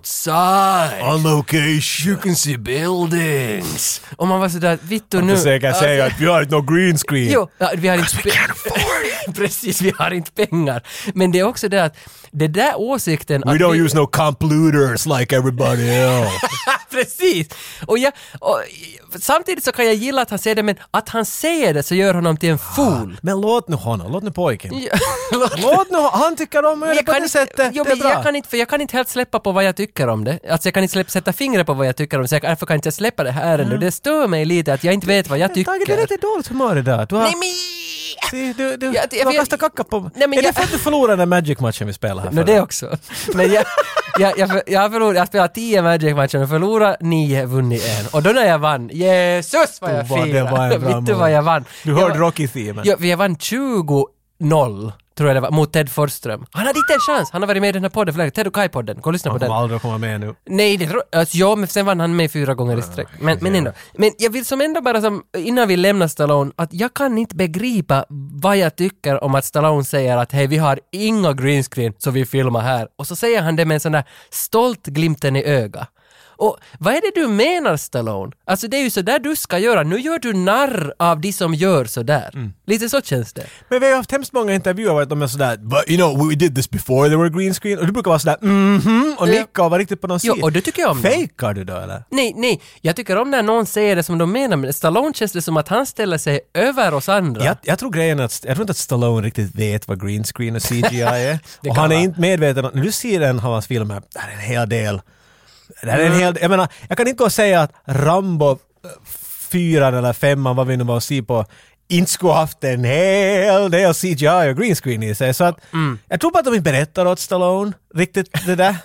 outside”. On location. You can see buildings. Och man var sådär, vittu nu. alltså- Försöker säga att vi har inte någon green screen. Jo, ja, vi har inte pengar. Precis, vi har inte pengar. Men det är också det att, det där åsikten We att don't vi, use no computers like everybody else. Precis! Och, jag, och samtidigt så kan jag gilla att han säger det, men att han säger det så gör honom till en fool. Men låt nu honom, låt nu pojken. Låt- Ah. Låt nu, han tycker om att göra det Jag på kan, det inte, sättet. jo, det är men bra. jag, kan inte, för jag kan inte helt släppa på vad jag tycker om det. Alltså jag kan inte släpp, sätta fingret på vad jag tycker om det, så jag, därför kan jag inte släppa det här ännu. Det stör mig lite att jag inte vet vad jag Tage, du är tycker. Mm. lite Ah. dåligt humör idag. Du har... Nej, men... Se, du, du, Jag- du jag- har kastat kacka på... Nej, men är det jag- för att du förlorade den Magic-matchen vi spelade här Nå förra? det också. Men jag, jag, jag, jag, har förlorat, jag har spelat 10 Magic-matcher och förlorat 9, vunnit en. Och då när jag vann, Jesus vad jag Vad det var firade! en bra Vet du mål. vad jag vann? Du Jag hörde vann- Rocky-themen. Ja, vi vann 20-0, tror jag det var, mot Ted Forsström. Han hade inte en chans, han har varit med i den här podden för länge. Ted och Kai-podden, gå och lyssna på Han den. kommer aldrig att komma med nu. Nej, det tror alltså, ja, men sen vann han med fyra gånger i sträck. Men, men ändå. Men jag vill som ändå bara som, innan vi lämnar Stallone, att jag kan inte begripa vad jag tycker om att Stallone säger att hej, vi har inga green screen så vi filmar här. Och så säger han det med en sån där stolt glimten i ögat. Och vad är det du menar Stallone? Alltså det är ju sådär du ska göra, nu gör du narr av de som gör sådär. Lite så känns det. Men vi har ju haft hemskt många intervjuer varit de är sådär “But you know, we did this before there were green screen” och du brukar vara sådär mhm och nicka och vara riktigt på någon Jo, sida. och det tycker jag om. Fejkar du då eller? Nej, nej, jag tycker om när någon säger det som de menar, men Stallone känns det som att han ställer sig över oss andra. Jag, jag tror grejen är att, jag tror inte att Stallone riktigt vet vad green screen och CGI är. och kan han är vara. inte medveten om, när du ser en av hans filmer, det här är en hel del. Det här är en Mm. hel del, jag menar, jag kan inte gå och säga att Rambo eh, fyran eller femman, vad vi nu var och se på, inte skulle haft en hel del CGI och green screen i sig. Så att, Mm. jag tror bara att de inte berättar åt Stallone riktigt det där.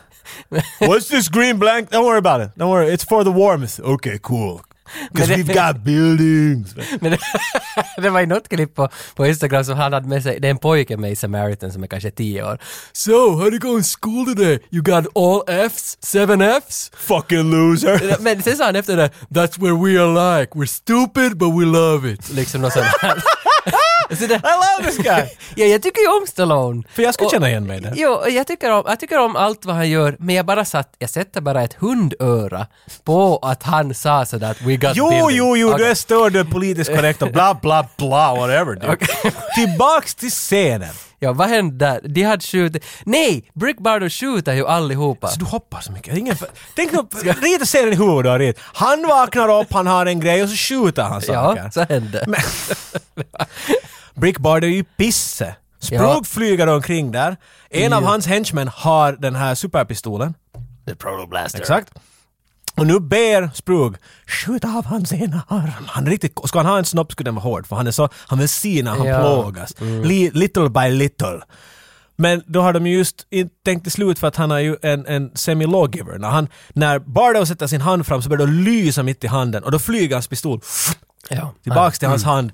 What's this green blank? Don't worry about it. Don't worry, it's for the warmth. Okay, cool. Because Men det- we've got buildings. Men det, det var ju något klipp på, på Instagram som han hade med sig, det är en pojke med i Samaritan som är kanske 10 år. So, how do you go in school today? You got all F's? Seven F's? Fucking loser. Men sen sa han efter det, that's where we are like, we're stupid but we love it. Liksom något sånt här. Så det, I love this guy! ja, jag tycker ju om Stallone. För jag skulle Och- känna igen mig där. Jo, och jag tycker, om, jag tycker om allt vad han gör, men jag bara satt, jag sätter bara ett hundöra på att han sa sådär att we got Jo, building. jo, jo, Okej. du är störd, du är politiskt korrekt och bla, bla, bla, whatever. dude. Tillbaks till scenen. Ja, vad hände där? De hade skjutit... Nej! Brick Bardo skjuter ju allihopa. Så du hoppar så mycket. Ingen för... Tänk nu, rita scenen i huvudet du har ritat. Han vaknar upp, han har en grej och så skjuter han saker. Ja, så hände. Men- Brick Bard är ju pisse. Sprog Ja. flyger omkring där. En av hans henchmen har den här superpistolen. The Proto Blaster. Exakt. Och nu ber Sprug skjuta av hans ena arm. Han är riktigt, ska han ha en snopp skulle den vara hård för han är så, han vill se när han Ja. Mm. plågas. Li, little by little. Men då har de ju just inte tänkt till slut för att han är ju en, en semi-lawgiver. När, han, när Bardo sätter sin hand fram så börjar det lysa mitt i handen och då flyger hans pistol Ja. tillbaks till mm. hans hand.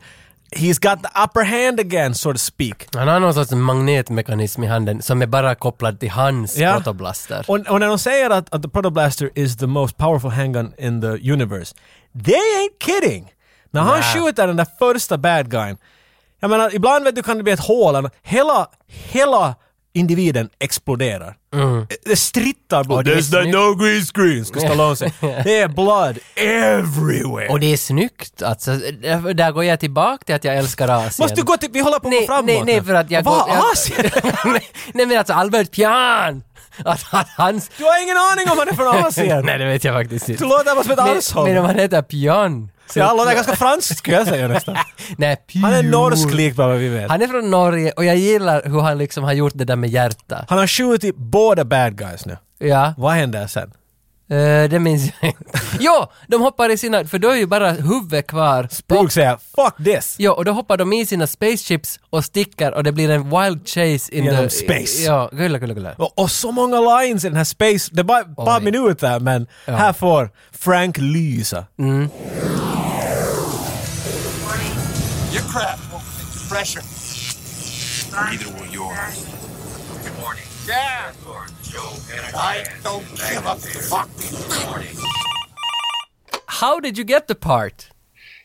He's got the upper hand again, so to speak. Han har någon sorts magnetmekanism i handen som är bara kopplad till hans Ja. Proto Blaster. Och, och när de säger att, att the protoblaster is the most powerful handgun in the universe, they ain't kidding! När han skjuter den där första bad guyn, jag menar uh, ibland vet du kan det bli ett hål, eller- hela, hela individen exploderar. Eh, Det strittar blod. Mm. det är There's snyggt. no green screen, ska Stallone säga. Det är blood everywhere. Och det är snyggt alltså. Därför- Där går jag tillbaka till att jag älskar Asien. Måste du gå till, vi håller på att gå nej, framåt nej, nej, nu. för att jag... Vad, går- jag- Asien? nej, men alltså Albert Pian! Att, att hans... Du har ingen aning om han är från Asien! nej, det vet jag faktiskt inte. Du låter bara som ett Men, arshåll. men om han heter Pian Så han låter ganska fransk skulle jag säga nästan. Nej, pure. Han är er norsk lik bara vad vi vet. Han är från Norge och jag gillar hur han liksom har gjort det där med hjärta. Han har skjutit båda bad guys nu. Ja, Vad händer sen? eh, det minns jag inte. Jo, de hoppar i sina, för då är ju bara huvudet kvar. Brooke säger “fuck this”. Ja, och då hoppar de i sina spaceships och sticker och det blir en wild chase in Genom the... space. Ja, gulla, gulla, gulla. Och, och så många lines i den här space. Det är bara ett par Oj. minuter men här får Frank lysa. Your craft won't take the pressure. Neither will yours. Good morning. Yeah. Joe and I don't give a fuck. Good morning. How did you get the part?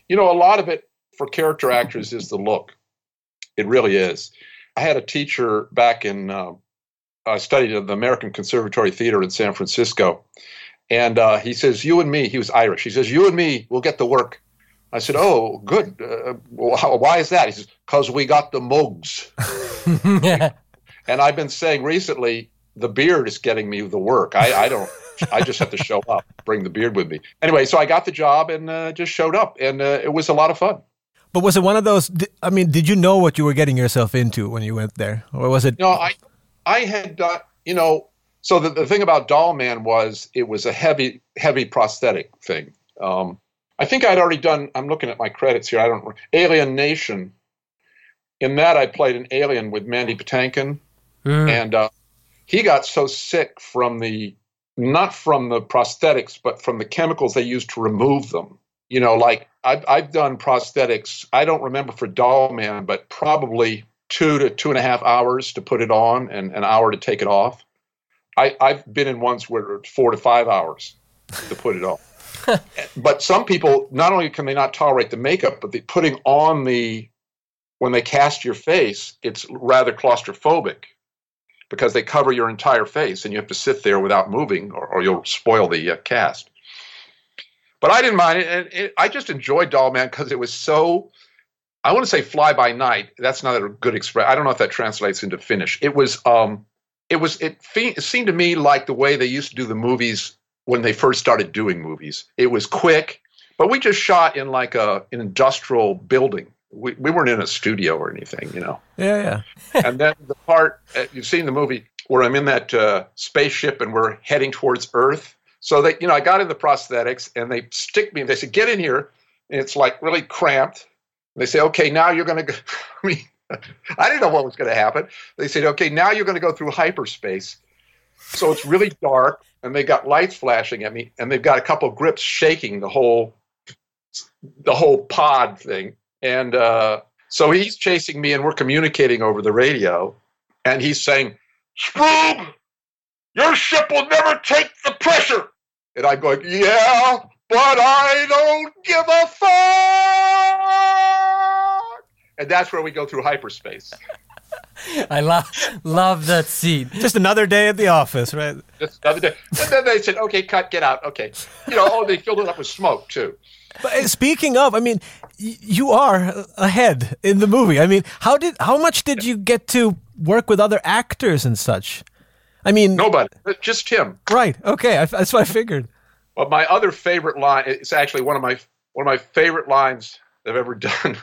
you know, a lot of it for character actors is the look. It really is. I had a teacher back in, uh, I studied at the American Conservatory Theater in San Francisco. And uh, he says, You and me, he was Irish. He says, You and me will get the work. I said, Oh, good. Uh, wh- how- why is that? He says, Because we got the mugs. and I've been saying recently, the beard is getting me the work. I, I don't. I just have to show up, bring the beard with me. Anyway, so I got the job and uh, just showed up, and uh, it was a lot of fun. But was it one of those, di- I mean, did you know what you were getting yourself into when you went there? Or was it, You know, I, I had done, you know, so the, the thing about Doll Man was it was a heavy, heavy prosthetic thing. Um, I think I'd already done. I'm looking at my credits here. I don't. re- Alien Nation. In that, I played an alien with Mandy Patinkin, and uh, he got so sick from the not from the prosthetics, but from the chemicals they used to remove them. You know, like I've, I've done prosthetics. I don't remember for Doll Man, but probably two to two and a half hours to put it on and an hour to take it off. I, I've been in ones where it's four to five hours to put it on. but some people, not only can they not tolerate the makeup, but the putting on the, when they cast your face, it's rather claustrophobic because they cover your entire face and you have to sit there without moving or, or you'll spoil the uh, cast. But I didn't mind it. And it I just enjoyed Doll Man because it was so, I want to say fly by night. That's not a good expression. I don't know if that translates into Finnish. It was, um, it was it, fe- it seemed to me like the way they used to do the movies when they first started doing movies it was quick but we just shot in like a an industrial building we, we weren't in a studio or anything you know yeah, yeah. and then the part uh, you've seen the movie where i'm in that uh, spaceship and we're heading towards earth so they you know i got in the prosthetics and they stick me they said get in here and it's like really cramped and they say okay now you're going to go i mean i didn't know what was going to happen they said okay now you're going to go through hyperspace so it's really dark and they got lights flashing at me and they've got a couple of grips shaking the whole the whole pod thing and uh, so he's chasing me and we're communicating over the radio and he's saying Sprung, your ship will never take the pressure and i'm going yeah but i don't give a fuck and that's where we go through hyperspace I lo- love that scene. Just another day at the office, right? Just the other day. And then they said, okay, cut, get out. Okay. You know, oh, they filled it up with smoke, too. But uh, speaking of, I mean, y- you are ahead in the movie. I mean, how did how much did you get to work with other actors and such? I mean, Nobody, just him. right? Okay, I f that's what I figured. But my other favorite line, it's actually one of my one of my favorite lines I've ever done.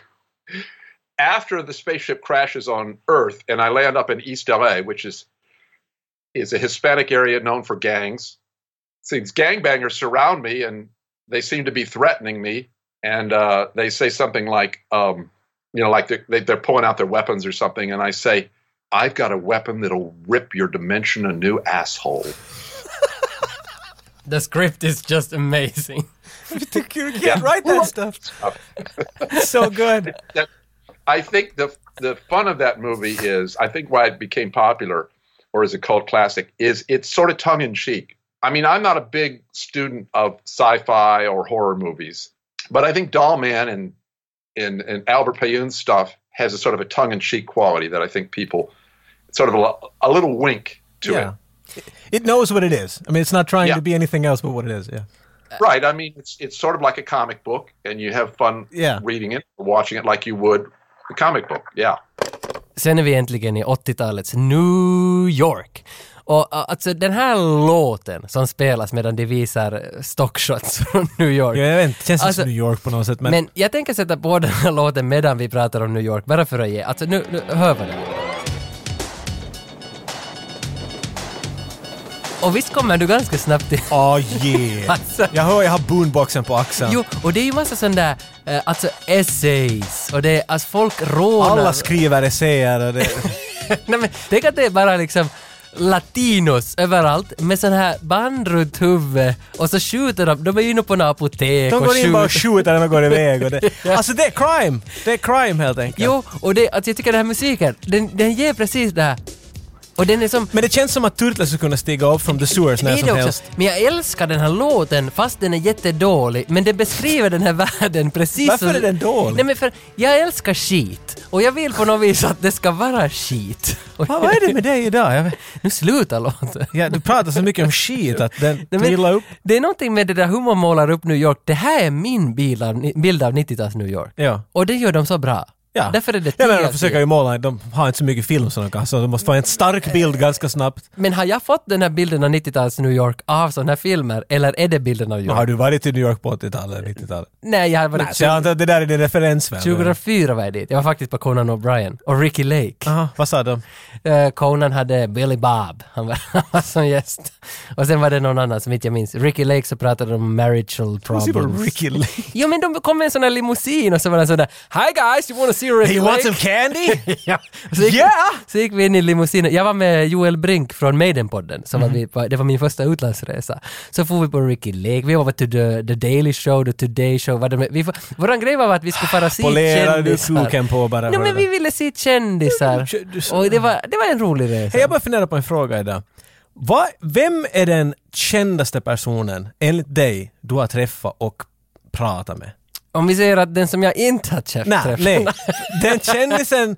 After the spaceship crashes on Earth and I land up in East LA, which is is a Hispanic area known for gangs. These gangbangers surround me and they seem to be threatening me. And uh, they say something like, um, you know, like they're, they, they're pulling out their weapons or something. And I say, I've got a weapon that'll rip your dimension a new asshole. The script is just amazing. you can't write that stuff. so good. I think the the fun of that movie is I think why it became popular or is a cult classic is it's sort of tongue in cheek. I mean, I'm not a big student of sci-fi or horror movies, but I think Doll Man and and, and Albert Payun's stuff has a sort of a tongue in cheek quality that I think people it's sort of a, a little wink to Yeah. It knows what it is. I mean, it's not trying Yeah. to be anything else but what it is. Yeah. it. Right. I mean, it's it's sort of like a comic book and you have fun Yeah. reading it or watching it like you would a comic book. Yeah. Sen är vi äntligen i 80-talets New York. Och äh, alltså den här låten som spelas medan de visar eh, stockshots från New York. Ja, jag vet inte, känns Alltså- som New York på något sätt. Men, Men jag tänker sätta på den här låten medan vi pratar om New York, bara för att ge. Alltså nu, nu hör vad det Och visst kommer du ganska snabbt till... åh yeah. Alltså. Jag hör jag har boomboxen på axeln. Jo, och det är ju massa sån där, eh, alltså essays, och det är, alltså folk rånar... Alla skriver essäer och det... Nej men, tänk att det är bara liksom latinos överallt med sån här band runt huvudet och så skjuter de, de är ju inne på en apotek De och går in bara och skjuter. skjuter när de går iväg. Och det. Alltså det är crime! Det är crime helt enkelt. Jo, och det, alltså jag tycker den här musiken, den, den ger precis det här. Och den är som... Men det känns som att Turtles skulle kunna stiga upp från the sewers när Det är som det också. helst. Men jag älskar den här låten fast den är jättedålig. Men den beskriver den här världen precis Varför som- är den dålig? Nej men för jag älskar skit. Och jag vill på något vis att det ska vara skit. Och- Vad, vad är det med dig idag? Jag vet, Nu slutar låten. ja, du pratar så mycket om shit att den Nej, men trillar upp. Det är någonting med det där hur man målar upp New York. Det här är min bild av, bild av 90-tals New York. Ja. Och det gör de så bra. Ja. Därför är det 10 jag menar, av de 10. försöker ju måla, de har inte så mycket film som de kan, så de måste få en stark bild ganska snabbt. Men har jag fått den här bilden av 90-tals New York av sådana här filmer? Eller är det bilden av New Men York? Har du varit i New York på 80-talet eller 90-talet? Nej, jag har varit Nej, så jag antar att det där är din referensvärld. 2004 var jag dit. Jag var faktiskt på Conan O'Brien och Ricky Lake. Aha, vad sa de? Eh, Conan hade Billy Bob, han var, han var som gäst. Och sen var det någon annan som inte jag minns. Ricky Lake så pratade om marital Se på problems. Ricky Lake. Jo men de kom med en sån här limousin och så var det sådär Hi guys, you wanna see Ricky Hey, you want Lake? some candy? ja. så, gick, Yeah! så gick vi in i limousinen. Jag var med Joel Brink från Maiden-podden, som Mhm. var vi, på- det var min första utlandsresa. Så for vi på Ricky Lake, vi var till the, the Daily Show, The Today Show. Vad de, vi, vår grej var att vi skulle fara se Polerar du kändisar. kuken på bara? Nej för men det? vi ville se kändisar. Ja, men du- Och det var, det var en rolig resa. Hej, jag bara funderar på en fråga idag. Vad- vem är den kändaste personen, enligt dig, du har träffat och pratat med? Om vi säger att den som jag inte har käft- Nej, träffat. nej. Den kändisen,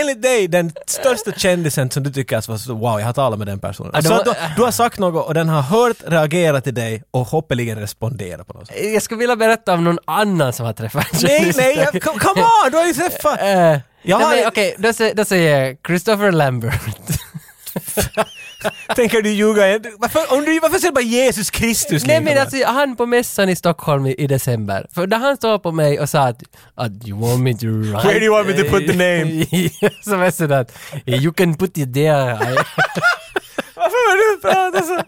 enligt dig, den största kändisen som du tycker att var så, wow, jag har talat med den personen. Ja, det så var- att du, du har sagt något och den har hört, reagerat till dig och hoppeligen responderat på något sätt. Jag skulle vilja berätta om någon annan som har träffat en Nej, kändis. nej, jag, come, come on, du har ju träffat... Eh, Jag nej, har- men Okej, då, sä- då säger jag Christopher Lambert. Tänker du ljuga? Varför, om du, varför säger du bara Jesus Kristus? nej lika men bra? alltså han på mässan i Stockholm i, i december. För när han står på mig och sa att, att you want me to write... Where do you want me to put the name? Som är sådär att you can put it there. Varför har du pratat så?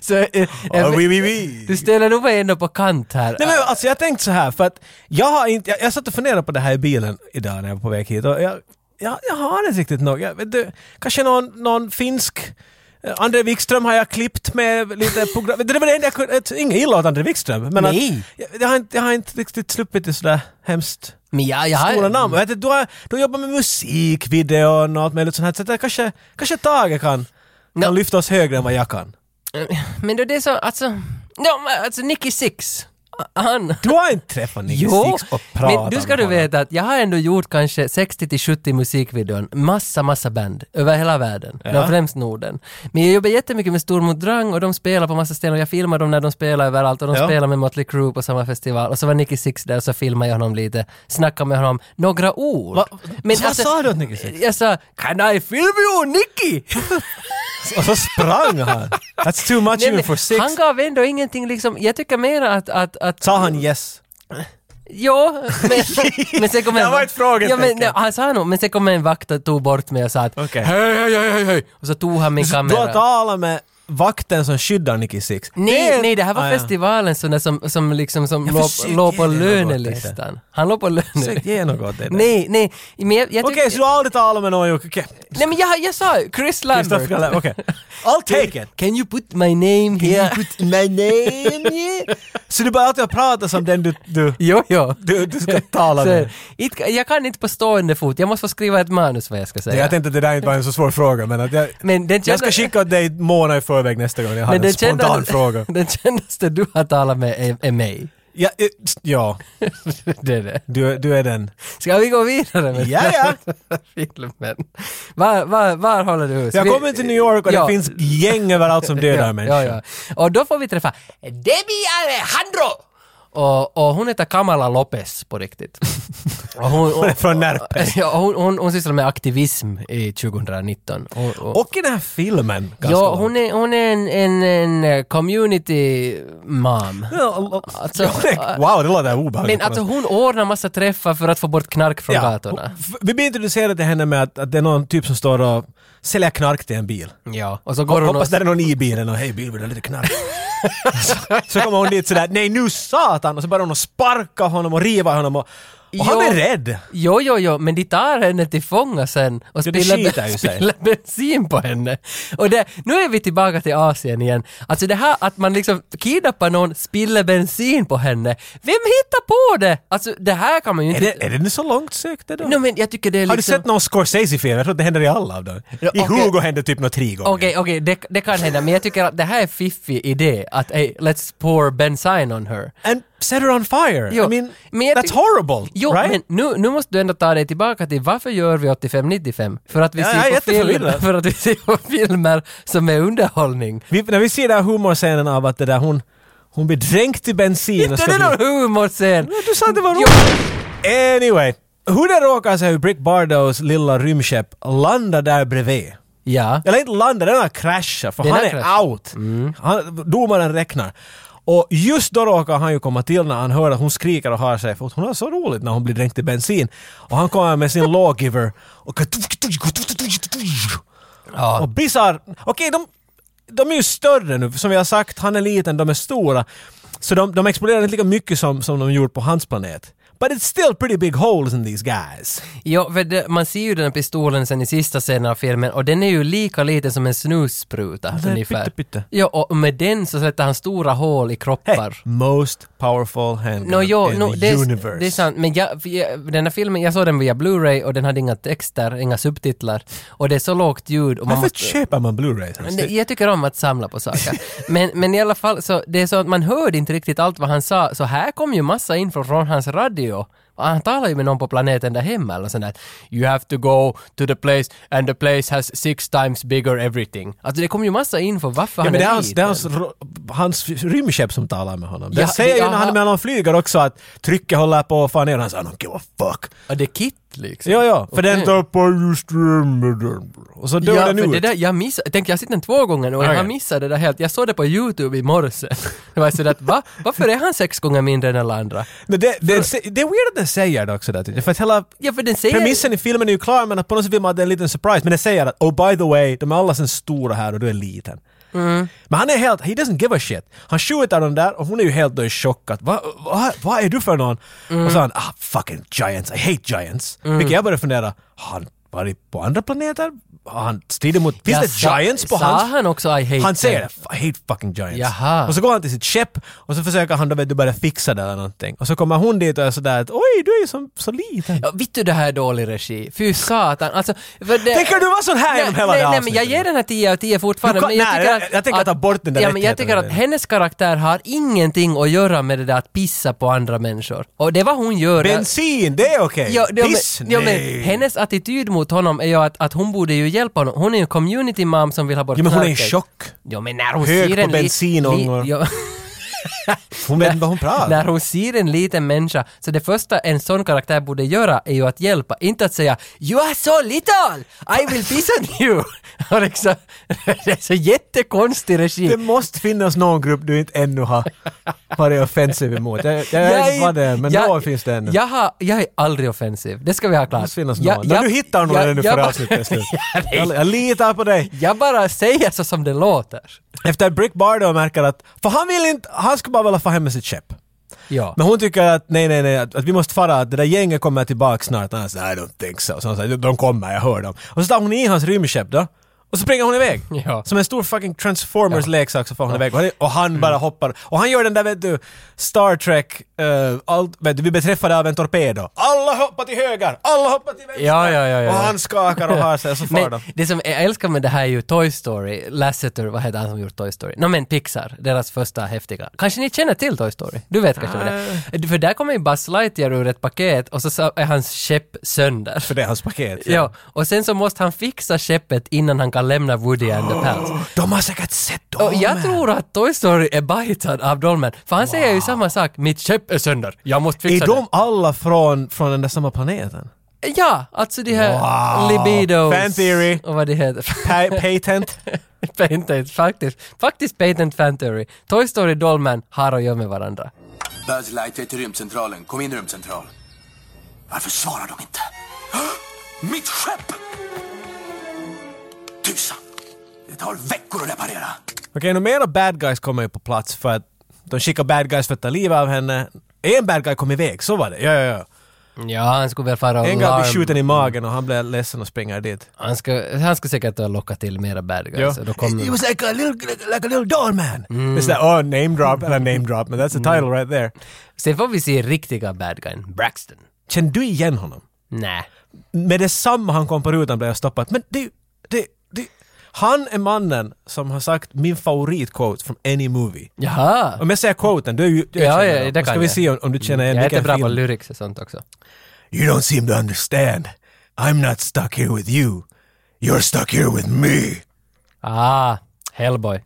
så, eh, Oh, oui, oui, oui. Du ställer nog mig ändå på kant här. Nej men alltså jag tänkte så här för att jag har inte, jag, jag satt och funderade på det här i bilen idag när jag var på väg hit och jag, jag, jag har inte riktigt något. Jag, vet du, kanske någon, någon finsk eh, André Wikström har jag klippt med lite program. Det var det enda jag kunde, ett- inget illa åt André Wikström. Men Nej. Att, jag, jag, har inte, jag har inte riktigt sluppit till sådär hemskt men ja, jag har... stora namn. Vet du, du, har, du jobbar med musikvideon och allt möjligt sånt här. Så att jag kanske, kanske Tage kan, Ja. kan lyfta oss högre än vad jag kan. Men då det är så, alltså... Ja, men alltså Nicky Six. Han... Du har inte träffat Nicky Six och pratat men du ska med du honom. veta att jag har ändå gjort kanske 60-70 musikvideon, massa, massa band över hela världen, men främst Norden. Men jag jobbar jättemycket med Stormot Drang och de spelar på massa ställen och jag filmar dem när de spelar överallt och de Ja. spelar med Motley Crue på samma festival och så var Nicky Six där och så filmade jag honom lite, snackade med honom, några ord. alltså, Va- vad sa du åt Nicky Six? Jag sa “Can I film you Nicky?” Och så sprang han! That's too much Nej, even men for six. Han gav ändå ingenting liksom, jag tycker mer att, att, att Sa han yes? Ja, men, men sen kom Det en... var ett frågetecken. Ja, men, nej, han sa nog, men sen kom en vakt och tog bort mig och sa att Okej. hej, hej, hej, hej, hej, och så tog han min Du har kamera. talat med vakten som skyddar Nicky Six. Nej, nej, det här var Ah, ja. festivalen sån där som, som liksom som Jag låg, försöker låg på ge dig något, lönelistan. Han låg på Försök ge lönelistan. något åt det där. Nej, nej, men jag, jag Okej, tycker... så du har aldrig talat med någon Jocke? Okej. Nej men jag, jag sa ju, Chris Lambert. Kristoffer Kalle, Okej. I'll take it! Can you put my name here? my name Så du bara alltid har pratat som den du, du, Jo, jo. du, du ska tala Så, med? it, jag kan inte på stående fot, jag måste få skriva ett manus vad jag ska säga. Jag tänkte att det där inte var en så svår fråga men att jag, Men den jag ska kända- skicka åt dig en månad i förväg nästa gång jag har en spontan fråga. den kändaste du har talat med är, är mig. Ja, eh, ja Det är det. du, du är den. Ska vi gå vidare med Ja, ja. den här filmen? Var, var, var håller du hus? Jag Vi- kommer till New York och Ja. det finns gäng överallt som dödar ja, människor. ja, ja. Och då får vi träffa Debbie Alejandro! Och, och hon heter Kamala Lopez på riktigt. Och hon, Hon är från Närpe. Ja, hon, hon, hon sysslar med aktivism i 2019. Och, och, Och i den här filmen ganska ja, långt. hon är, hon är en, en, en eh, community mom. Ja, och- Alltså, wow, det låter obehagligt. Men alltså hon ordnar massa träffar för att få bort knark från gatorna. f- Vi blir introducerade till henne med att, att det är någon typ som står och säljer knark till en bil. Ja, och så går hon och... Hoppas det är någon i bilen och hej bil vill du ha lite knark? så, så kommer hon dit sådär, nej nu satan! Och så börjar hon att sparka honom och riva honom och, och han Ja. blir rädd! Jo, jo, jo, men de tar henne till fånga sen och Ja, det spiller, skitar ju sig. spiller bensin på henne. Och det, nu är vi tillbaka till Asien igen. Alltså det här att man liksom kidnappar någon, spiller bensin på henne. Vem hittar på det? Alltså det här kan man ju Är inte... det, är det så långt sökt det då? No, men jag tycker det är Har du liksom... sett någon Scorsese-film? Jag tror att det händer i alla av dem. Ja, I okej. Hugo händer typ något tre gånger. Okej, okej, det, det kan hända, men jag tycker att det här är fiffig idé. Att hey, let's pour bensin on her. And set her on fire! Jo, I mean, men jag that's tyck- horrible! Jo, right? men nu, nu måste du ändå ta dig tillbaka till varför gör vi 85-95? För att vi Ja, jag är ser på filmer, jätteförvirrad. för att vi ser på filmer som är underhållning. Vi, när vi ser den här humorscenen av att det där hon, hon blir dränkt i bensin och Inte ska det bli... någon humorscen! Du sa att det var Jo. roligt! Anyway. Hur det råkar sig hur Brick Bardos lilla rymdskepp landar där bredvid. Ja. Eller inte landar, den har kraschat för Den Mm. han har är kraschat. out. Han, domaren räknar. Och just då råkar han ju komma till när han hör att hon skriker och har sig för hon har så roligt när hon blir dränkt i bensin. Och han kommer med sin lawgiver och... ja. Och Bizarre, okej de, de är ju större nu, som vi har sagt, han är liten, de är stora. Så de, de exploderar inte lika mycket som, som de gjort på hans planet. But it's still pretty big holes in these guys. ja för det, man ser ju den här pistolen sen i sista scenen av filmen och den är ju lika liten som en snusspruta är ungefär. pytte, pytte. Ja, och med den så sätter han stora hål i Hey, kroppar. most powerful handgun No, jo, in no, the det, universe. är, det är sant, men jag, för jag, den här filmen, jag såg den via Blu-ray och den hade inga texter, inga subtitlar och det är så lågt ljud och man Varför måste... köper man Blu-rays? Men det- Jag tycker om att samla på saker. Men, men i alla fall, så, det är så att man hörde inte riktigt allt vad han sa, så här kom ju massa info från hans radio. Och Han talar ju med någon på planeten där hemma eller sånt där. You have to go to the place and the place has six times bigger everything. Alltså det kom ju massa info varför Ja, han men det är är hans, det liten. är hans, ro- hans rymdskepp som talar med honom. Det Ja, säger det- ju när han aha. är mellan flyger också att trycket håller på att fara ner. Han säger I don't give a fuck. Och det är Kit liksom. Ja, ja, för den Okej. tappar just rymden. Och så dör Ja, den för ut. det där, jag missade, tänk jag har sett den två gånger och jag har Okej. missat det där helt. Jag såg det på YouTube i morse. Det var sådär att va? Varför är han sex gånger mindre än alla andra? Men det, det, det är weird att den säger det också där tycker jag. För att hela Ja, för den säger... premissen i filmen är ju klar men att på något sätt vill man att det är en liten surprise. Men den säger att oh by the way, de är alla sen stora här och du är liten. Mm. Men han är helt, he doesn't give a shit. Han skjuter dem där och hon är ju helt då i chock att vad va, va är du för någon? Mm. Och så han ah fucking giants, I hate giants. Vilket jag började fundera, har han varit på andra planeter? Har han stridit mot, finns Ja, det sa- giants på sa hans? han också I hate Han säger det, them? "F- I hate fucking giants. Jaha. Och så går han till sitt skepp och så försöker han då vet du börja fixa det eller någonting. Och så kommer hon dit och är sådär att oj, du är ju som, så liten. Ja, vet du det här är dålig regi? Fy satan. Alltså, för det... Tänker du vara sån här genom hela nej, det här nej, men jag avsnittet? ger den här 10 av 10 fortfarande. Du kan- men jag, nej, tycker jag- att, jag tänker ta bort den där ja, men Jag rättigheten tycker att redan. hennes karaktär har ingenting att göra med det där att pissa på andra människor. Och det är vad hon gör. där. Bensin, det är okej. Ja, ja, Piss, men, ja, men nej. hennes attityd mot honom är ju att, att hon borde ju hjälpa honom. Hon är ju en community mom som vill ha bort Ja, men hon är i knarket. chock. Ja, men när hon Hög ser på en li- bensinångor. li- ja, Hon vet inte vad hon pratar när hon ser en liten människa, så det första en sån karaktär borde göra är ju att hjälpa, inte att säga “You are so little! I will piss on you!” Och liksom, Det är så jättekonstig regi. Det måste finnas någon grupp du inte ännu har varit offensiv emot. Jag, jag, vet inte vad det är, men jag- någon finns det ännu. Jag, har, jag är aldrig offensiv, det ska vi ha klart. det måste finnas någon. Jag- När jag- du hittar någon jag- ännu jag för bara- avslutet slut. jag, jag litar på dig. Jag bara säger så som det låter. Efter att Brick Bardo märker att, för han vill inte, han skulle bara vilja få hem med sitt skepp. Ja. Men hon tycker att nej, nej, nej, att, att vi måste fara, att det där gänget kommer tillbaka snart. Annars, I don't think so. Så hon säger, de kommer, jag hör dem. Och så tar hon i hans rymdskepp då. Och så springer hon iväg. Ja. Mm. Som en stor fucking Transformers-leksak så far hon iväg. Och han- Och han bara hoppar. Och han gör den där, vet du, Star Trek, eh, allt, vet du, vi blir träffade av en torpedo. Alla hoppar till höger! Alla hoppar till vänster! Ja, ja, ja, ja. Och han skakar och har sig, och så far Men de. det som jag älskar med det här är ju Toy Story, Lasseter, vad heter han som gjort Toy Story? Nå men Pixar, deras första häftiga. Kanske ni känner till Toy Story? Du vet kanske vad Ah. det är? För där kommer ju Buzz Lightyear ur ett paket och så sa- är hans skepp sönder. För det är hans paket. Ja, och sen så måste han fixa skeppet innan han kan ska lämna Woody and the Pals. De har säkert sett Och Dolmen. jag tror att Toy Story är bajtad av Dolmen, för han säger ju samma sak. Mitt skepp är sönder, jag måste Är fixa de alla från, från den där samma planeten? det. Ja, alltså de här Wow. libidos. Fan theory. Och vad det heter. Pa- patent? patent, faktiskt. Faktiskt patent fan theory. Toy Story Dolmen har att göra med varandra. Buzz Lightyear till rymdcentralen. Kom in rymdcentral. Varför svarar de inte? Mitt skepp! Tusan! Det tar veckor att reparera. Okej, nu mera bad guys kommer ju på plats för att de skickar bad guys för att ta livet av henne. En bad guy kom iväg, så var det. Ja, ja, ja. Ja, han skulle väl fara och En guy blir larm. skjuten i magen och han blir ledsen och springer dit. Han ska, han ska säkert locka till mera bad guys. och Alltså, Då kommer He was like a little, like a little doorman. Mm. It's like, oh, name drop, eller name drop, men that's the title right there. Sen får vi se riktiga bad guyen, Braxton. Känner du igen honom? Nej. med detsamma han kom på rutan blev jag stoppad. Men det, det, det, han är mannen som har sagt min favoritquote from any movie. Jaha. Om jag säger quoten, du är ju... du Ja, känner ja, den. det Ska kan vi jag. se om, om du känner igen Jag är inte vilken bra på film? lyrics och sånt också. You don't seem to understand. I'm not stuck here with you. You're stuck here with me. Ah, Hellboy.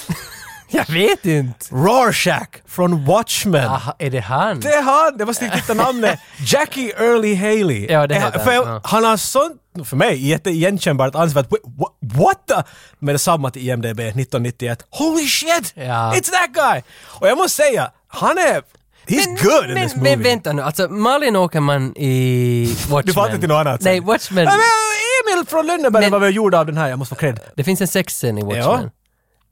jag vet inte. Rorschach från Watchmen. Aha, är det han? Det är han! Jag måste hitta namnet. Jackie Early Haley. Ja, det Eh, heter för han, jag, ja. han har sånt, för mig, jätteigenkännbart ansvar. What, what the? Med detsamma till IMDB 1991. Holy shit! Ja. It's that guy! Och jag måste säga, han är... He's good in men, this movie. men vänta nu, alltså Malin Åkerman i Watchmen. du fattar till något annat. Nej, sen. Watchmen. Ja, men Emil från Lönneberg Men- var väl gjord av den här, jag måste få cred. Det finns en sexscen i Ja. Watchmen.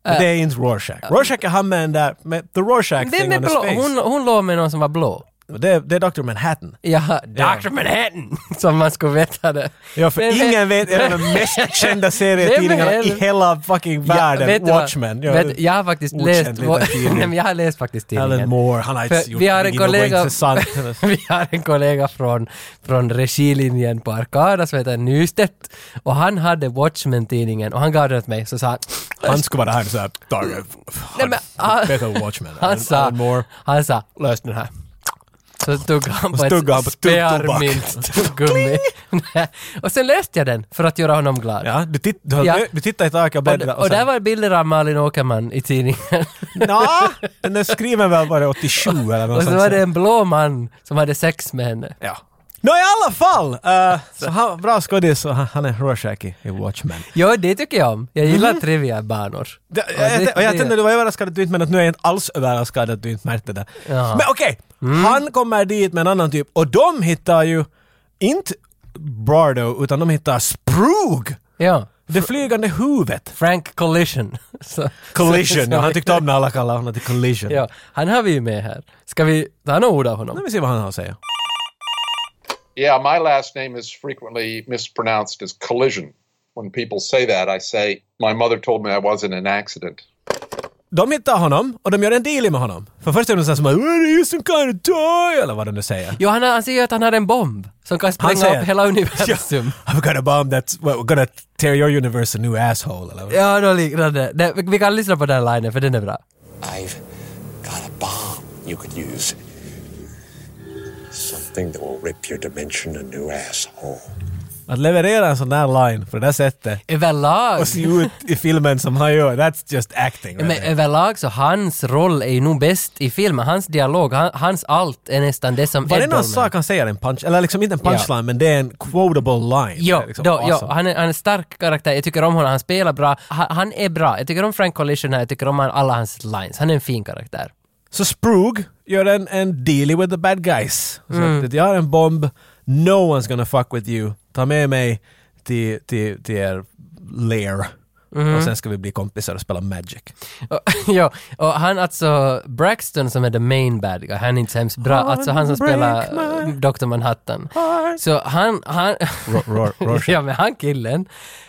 Men det är inte Rorschach. Rorschach är han med den där, med the Rorschach Eh, Vem thing är on his blå? face. Hon, hon låg med någon som var blå. Det, är, det är Dr. Manhattan. Jaha, Dr. Manhattan! Som man skulle veta det. Ja, för Men- ingen vet, en av de mest kända serietidningarna Vem är- i hela fucking världen, vet du vad? Watchmen. Ja, Vet, jag har faktiskt läst... okänd liten tidning. Nej, men jag har läst faktiskt tidningen. Alan Moore, han har För inte gjort vi har en någonting kollega, intressant. vi har en kollega från, från regilinjen på Arkada som heter Nystedt och han hade Watchmen-tidningen och han gav den åt mig så sa han Han skulle vara här och säga Nej, men, han- Better Watchmen. han Alan, sa, Alan Moore. han sa lös den här. Så tog han på tog han på ett tuggtobak. spearmint tuggummi. och sen läste jag den för att göra honom glad. Ja, du, titt, du, har- Ja. du tittar i taket och Och, bläddrar. och där var bilder av Malin Åkerman i tidningen. Nja, den där skriven väl var det 87 eller något och så sånt. var det en blå man som hade sex med henne. Ja. Nå i alla fall! eh, så han, bra skådis och han, han är Rorschach i i Watchmen. Ja, det tycker jag om. Jag gillar trivia-banor. Det, Mhm. jag, jag, och jag tänkte du var överraskad att du inte men att nu är jag inte alls överraskad att du inte märkte det. Ja. Mm. Men okej, han kommer dit med en annan typ och de hittar ju inte Bardo utan de hittar Sprug! Ja. Det flygande huvudet. Frank Collision. Så, Collision, ja, han tyckte om när alla kallade honom till Collision. ja, han har vi ju med här. Ska vi ta några ord av Nu honom? vi se vad han har att säga. Yeah, my last name is frequently mispronounced as collision. When people say that, I say, my mother told me I was in an accident. De hittar honom och de gör en deal med honom. För först är de såhär som “Are you some kind of toy?” eller vad de nu säger. Jo, han, har- han säger ju att han har en bomb som kan spränga säger- upp hela universum. I've got a bomb that's well, gonna tear your universe a new asshole. Eller? Ja, något liknande. Nej, vi- vi kan lyssna på den här linen, för den är bra. I've got a bomb you could use. Something that will rip your dimension a new asshole. Att leverera en sån där line på det där sättet Överlag, och se ut i filmen som han gör. oh, That's just acting. men Right there. överlag så hans roll är ju nog bäst i filmen. Hans dialog, han, hans allt är nästan det som Varenda Eddolman- sak han säger är en punch, eller liksom inte en punchline men det är en quotable line. Det Jo, är liksom då, awesome. jo han, är, han är en stark karaktär. Jag tycker om honom, han spelar bra. Han, han är bra. Jag tycker om Frank Collision här, jag tycker om han, alla hans lines. Han är en fin karaktär. Så Sprug gör en, en deal with the bad guys. Så att jag har en bomb, no one's gonna fuck with you. Ta med mig till, till, till er lair. Och sen ska vi bli kompisar och spela Magic. Och- ja, och han alltså, Braxton som är the main bad guy, han är inte så hemskt bra. Alltså han som Break spelar my Dr. Manhattan. Så han, han, Ro- ro- Rorschach. ja men han killen,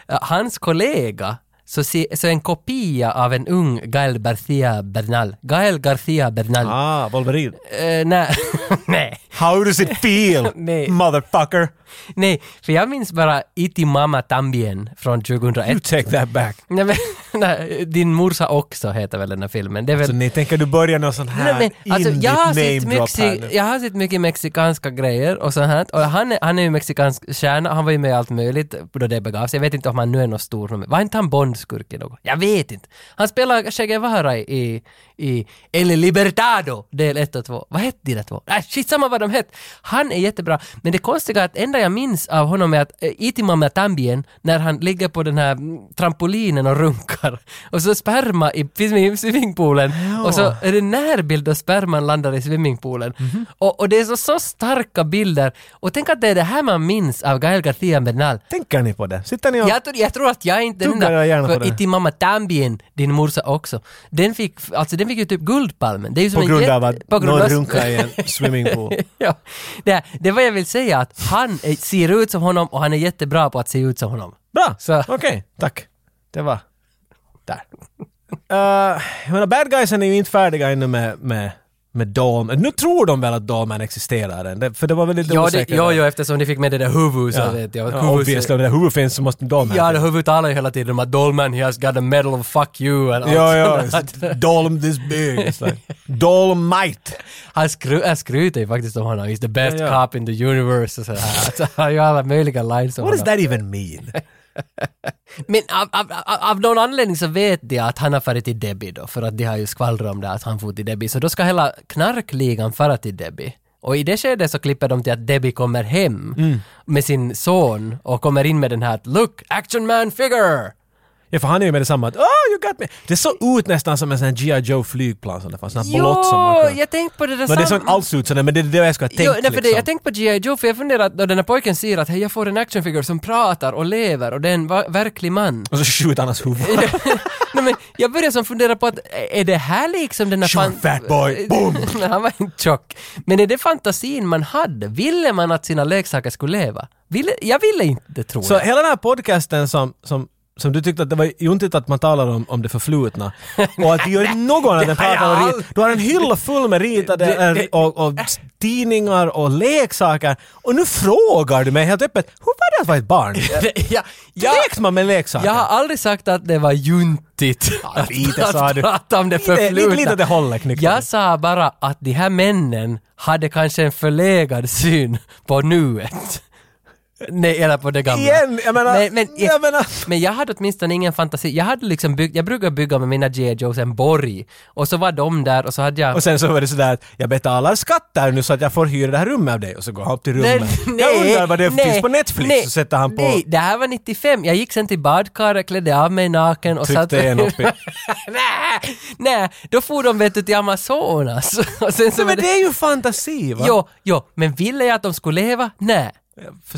eh, hans kollega, så, se, så en kopia av en ung Gael Garcia Bernal. Gael Garcia Bernal. Ah, Wolverine. Eh, nej, nej. How does it feel, Nej. motherfucker? Nej, för jag minns bara Iti Mama Tambien från You 2001. take that back. Nej, men, Nej, din morsa också heter väl den här filmen. Det är väl... Så Alltså, ni tänker du börjar någon sån här Nej, men, alltså, indie jag, har name sett drop här nu? mycket, jag har sett mycket mexikanska grejer och sånt här. Och han, är, han är ju mexikansk stjärna, han var ju med i allt möjligt då det begav sig. Jag vet inte om han nu är någon stor. nummer. Var inte han Bondskurk i något? Jag vet inte. Han spelar Che Guevara i, i El Libertado, del 1 och 2. Vad hette de där två? Äh, skitsamma vad de hette. Han är jättebra. Men det konstiga är att enda jag minns av honom är att eh, Itimama Tambien, när han ligger på den här mm, trampolinen och runkar och så sperma i, finns med i swimmingpoolen och så är det närbild och sperman landar i swimmingpoolen. Mhm. Och, och det är så, så starka bilder. Och tänk att det är det här man minns av Gael García Bernal. Tänker ni på det? Sitter ni och... Jag tror, jag tror att jag inte är den Tuggar jag gärna där. på För det. Itti Mamma Tambien, din morsa också, den fick, alltså den fick ju typ Guldpalmen. Det är ju som På en grund jätte- av att på grund någon av- runkar i en swimmingpool. ja, det, det är vad jag vill säga, att han är, ser ut som honom och han är jättebra på att se ut som honom. Bra! Så- Okej, tack. Det var... Där. Eh, jag menar, bad guysen är ju inte färdiga ännu med, med, med Dom. Nu tror de väl att Domen existerar än, det- för det var väl lite Ja, det, osäkert. jo, jo, eftersom ni fick med det där huvudet så Ja. vet jag. Ja, obviously, om det där huvudet finns så måste Dom Ja, här det finnas. huvudet talar ju hela tiden om att Dolman, he has got a medal of fuck you and allt Ja, ja. sånt där. it's Dolm this big. It's like, Dolmite. Han skru, jag skryter ju faktiskt om honom. He's the best Ja, ja. cop in the universe och sådär. Alltså, han har ju alla möjliga lines om What does honom. that even mean? Men av, av, av, av någon anledning så vet de att han har farit till Debbie då, för att de har ju skvallrat om det att han for till Debbie. Så då ska hela knarkligan fara till Debbie. Och i det skedet så klipper de till att Debbie kommer hem Mm. med sin son och kommer in med den här att “Look, action man figure!” Ja, för han är ju med detsamma att oh, you got me. Det såg ut nästan som en sån här G.I. Joe flygplan som det fanns, sån här blått som man kunde... jag tänkte på det där Men det såg sam- inte alls ut sådär, men det är det jag skulle ha tänkt Jo, nej, för det, liksom. jag tänkte på G.I. Joe, för jag funderar att då den här pojken säger att hej, jag får en actionfigur som pratar och lever och det är en va- verklig man. Och så skjuter han hans huvud. nej, men jag börjar som fundera på att är det här liksom den här... Sure, fat boy. Boom! Nej, han var inte tjock. Men är det fantasin man hade? Ville man att sina leksaker skulle leva? Ville, jag ville inte tro Så det. hela den här podcasten som, som, som du tyckte att det var juntigt att man talar om, om det förflutna och att vi gör någon av den har jag pratar om rit. aldrig- Du har en hylla full med ritade Det- det- eh, och, och tidningar och leksaker och nu frågar du mig helt öppet, hur var det att vara ett barn? Ja, ja, Lekte man med leksaker? jag har aldrig sagt att det var juntigt att, lite sa att du. prata om det Lite- lite- förflutna. lite åt det hållet, Knyckling. Jag sa bara att de här männen hade kanske en förlegad syn på nuet. Nej, eller på det gamla. Igen! Jag menar... Nej, men, jag menar Men jag hade åtminstone ingen fantasi. Jag hade liksom byggt, jag brukar bygga med mina G.I. Joes en borg. Och så var de där och så hade jag... och sen så var det sådär att jag betalar skatt där nu så att jag får hyra det här rummet av dig och så går han upp till rummet. jag undrar vad det finns på Netflix nej, så sätter han på... Nej, det här var 95. Jag gick sen till badkaret, klädde av mig naken och Tryckte en upp i- nej, nej, då for de vet du till Amazonas. och sen så var Nej, men det är ju fantasi va? Jo, jo, men ville jag att de skulle leva? Nej.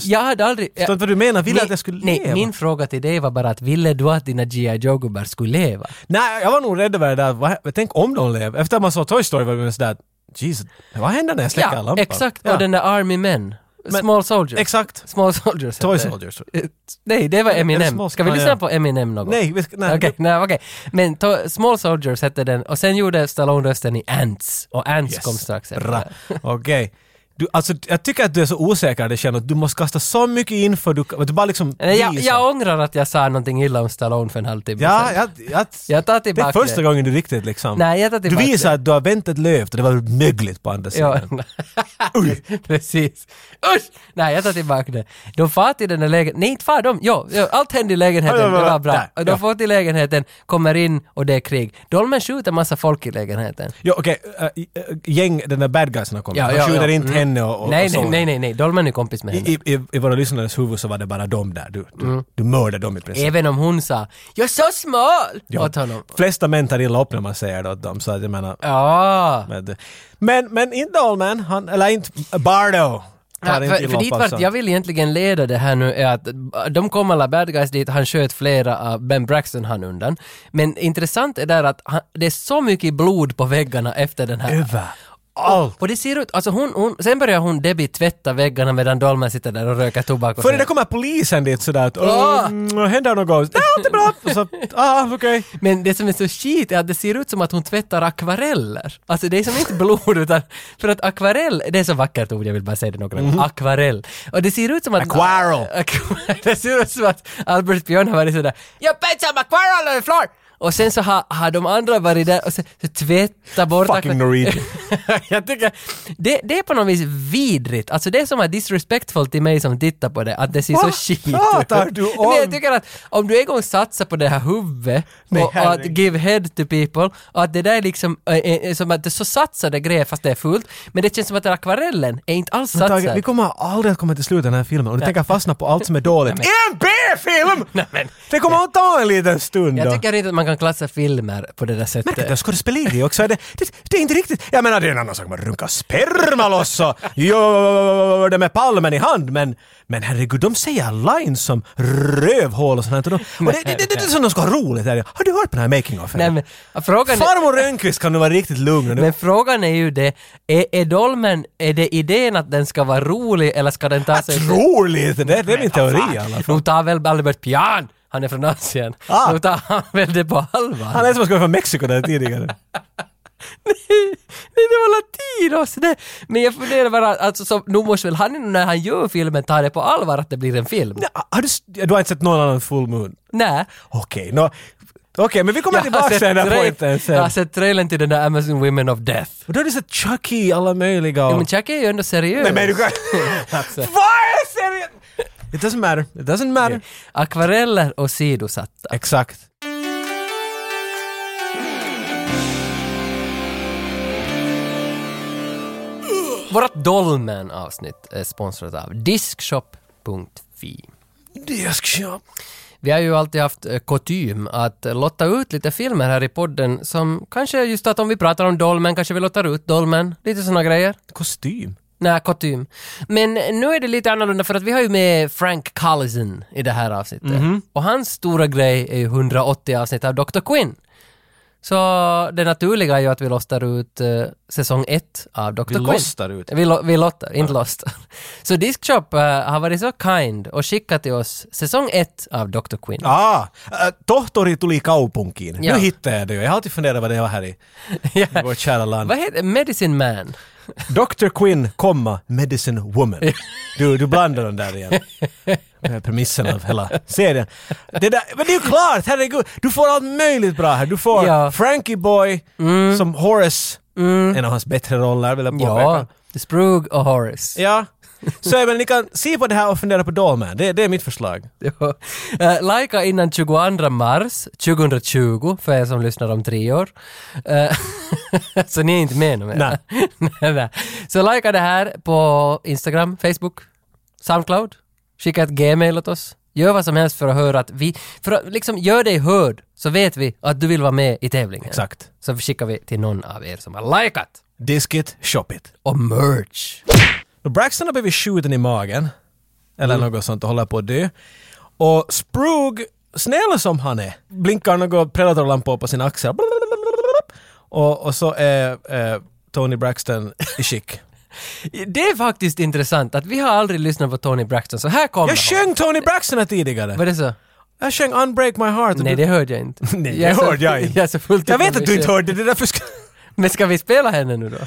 Jag hade aldrig... Jag, Förstår inte vad du menar? Ville Min- att jag skulle nej, leva? Min fråga till dig var bara att ville du att dina G.I. Joe-gubbar skulle leva? Nej, jag var nog rädd över det där. Vad- Tänk om de lever. Efter att man såg Toy Story var man sådär, Jesus, vad händer när jag släcker lampan? exakt. Och den där Army Men. small Soldiers. Exakt. Small Soldiers. Toy heter det. Soldiers. Eh, Nej, det var Eminem. small- Ska vi Ah, lyssna ja. på Eminem någon gång? Nej, vi ska, nej. Okej, nej, okej. Men to- Small Soldiers hette den och sen gjorde Stallone rösten i Ants och Ants kom strax efter. Bra. Okej. Du, alltså, jag tycker att du är så osäker, det känner du måste kasta så mycket info du, du bara liksom Nej, Eh, Jag, visar. jag ångrar att jag sa någonting illa om Stallone för en halvtimme ja, sedan. jag, jag, liksom. Jag tar Det är tillbaka första gången du riktigt liksom... Nej, jag tar du tillbaka visar det. att du har vänt ett löv, och det var mögligt på andra Ja. sidan. Precis. Usch! Nej, jag tar tillbaka det. De far till den där lägenheten. Nej, inte far de. Jo, jo, allt hände i lägenheten. Ja, ja, Det ja, var bra. där, Och de ja. får till lägenheten, kommer in och det är krig. Dolmen skjuter massa folk i lägenheten. Jo, okej. äh, äh, gäng, den där bad guysen har kommit. Ja, De ja, skjuter ja. inte Mm. henne och, och Nej, och nej, så. nej, nej, nej. Mm. Dolmen är kompis med henne. I, i, I våra lyssnares huvud så var det bara de där. Du, du, du mördade dem i princip. Även om hon sa ”Jag är så smal” åt honom. Flesta män tar illa upp när man säger det åt dem, så att jag menar... Ja. vet du. Men, men inte Dolman, han, eller inte Bardo. Ja, tar inte för, illa för upp dit alltså. vart jag vill egentligen leda det här nu är att de kom alla bad guys dit, han sköt flera av Ben Braxton han undan. Men intressant är där att han, det är så mycket blod på väggarna efter den här. Över. Allt. Och det ser ut, alltså hon, hon, sen börjar hon Debbie tvätta väggarna medan Dolman sitter där och röker tobak. Och Före det sådär. kommer polisen dit sådär att Ah! oh, händer något? Nej, allt är bra! Och Så, ah, okej. Men det som är så skit är att det ser ut som att hon tvättar akvareller. Alltså det är som inte blod utan, för att akvarell, det är så vackert ord, jag vill bara säga det några Mhm. gånger. Akvarell. Och det ser ut som att... Aquarel. Ak- det ser ut som att Albert Björn har varit sådär ”Jag petsar med akvarell on the floor!” Och sen så har, har de andra varit där och så, så tvättat bort... Fucking Norwegian. jag tycker, det, det är på något vis vidrigt. Alltså det är som att disrespectful till mig som tittar på det, att det ser så Vad skit ut. pratar du om? Men jag tycker att om du en gång satsar på det här huvudet Men och, och att herregud. give head to people och att det där är liksom, eh, eh, som att det är så satsade grejer fast det är fullt. Men det känns som att den här akvarellen är inte alls Men Tage, vi satsad. kommer aldrig att komma till slutet av den här filmen och du tänker fastna på allt som är dåligt. Nej, en B-film! Nej, men- Det kommer att ta en liten stund då. Jag tycker inte att man kan klassa filmer på det där sättet. Märker du att skådespeleri också? Är det, det, det är inte riktigt... Jag menar, det är en annan sak. Man runkar sperma loss och gör det med palmen i hand. Men, men herregud, de säger lines som rövhål och sånt. här. Och de- och det, det, det, det är som de ska ha roligt. Här. Har du hört på den här making of? Nej, men, frågan är, Farmor Rönnqvist kan nu vara riktigt lugn. men frågan är ju det, är, är dolmen, är det idén att den ska vara rolig eller ska den ta sig... Tror lite! Det, det är min teori i alla fall. Nu tar väl Albert Pian, han är från Asien, Ah. nu tar han väl det på Han allvar. är som att komma från Mexiko där tidigare. Nej, nej, det var latinos! Det. Men jag funderar bara, alltså, så, nu måste väl han när han gör filmen ta det på allvar att det blir en film? Ja, Har du, s- du har inte sett någon annan Full Moon? Nej. Okej, nå- okej, men vi kommer Jag har tillbaka till den där tra- pointen jag har sen. sett trailern till den där Amazon Women of Death. Och då har du sett Chucky, alla möjliga Ja. och... Men Jack är ju ändå seriös. Nej men du kan... Alltså, Vad är seriöst? It doesn't matter, it doesn't matter. akvareller och sidosatta. Exakt. Vårt Dolmen-avsnitt är sponsrat av Diskshop.fi. Diskshop. Vi har ju alltid haft eh, kutym att eh, lotta ut lite filmer här i podden som kanske just att om vi pratar om Dolmen kanske vi lottar ut Dolmen. Lite såna grejer. Kostym. Nej, kutym. Men nu är det lite annorlunda för att vi har ju med Frank Collison i det här avsnittet. Mhm. Och hans stora grej är ju 180 avsnitt av Dr. Quinn. Så det naturliga är ju att vi lostar ut eh, säsong ett av Dr. Vi Quinn. lostar ut. Vi, lo- vi lottar, inte lostar. Så Discshop eh, har varit så kind och skickat till oss säsong ett av Dr. Quinn. Ah, äh, tohtori tuli kaupunkiin. Ja. Nu hittade jag det ju. Jag har alltid funderat vad det var här i, Ja. i vårt kära land. Vad heter Medicine Man? Dr. Quinn, komma, Medicine Woman. Du, du blandar den där igen. Det är Premissen av hela serien. Det där, men det är ju klart, herregud. Du får allt möjligt bra här. Du får Ja. Mm. Frankie Boy som Horace, en av hans bättre roller vill jag påpeka. Ja, The Sprug och Horace. Ja. Så jag menar, ni kan se på det här och fundera på Dolman. Det, det är mitt förslag. Ja. Eh, Laika innan 22 mars 2020, för er som lyssnar om tre år. Eh, så ni är inte med nu? menar jag? nej, nej. Så lajka det här på Instagram, Facebook, Soundcloud. Skicka ett gmail åt oss. Gör vad som helst för att höra att vi... För att liksom, gör dig hörd, så vet vi att du vill vara med i tävlingen. Exakt. Så skickar vi till någon av er som har likat. Disk it, shop it. Och merch. Och Braxton har blivit skjuten i magen. Eller Mm. något sånt och håller på att dö. Och Sprug, snäll som han är, blinkar några predatorlampor på sin axel. Och, och så är eh, Tony Braxton i skick. Det är faktiskt intressant att vi har aldrig lyssnat på Tony Braxton, så här kommer Jag hon. sjöng Tony Braxton här tidigare. Var det så? Jag sjöng Unbreak My Heart. Nej, det hörde jag inte. Jag Nej, det är så- hörde jag inte. Jag, är så fullt jag upp vet av att du mig inte själv. hörde det, därför ska... Men ska vi spela henne nu då?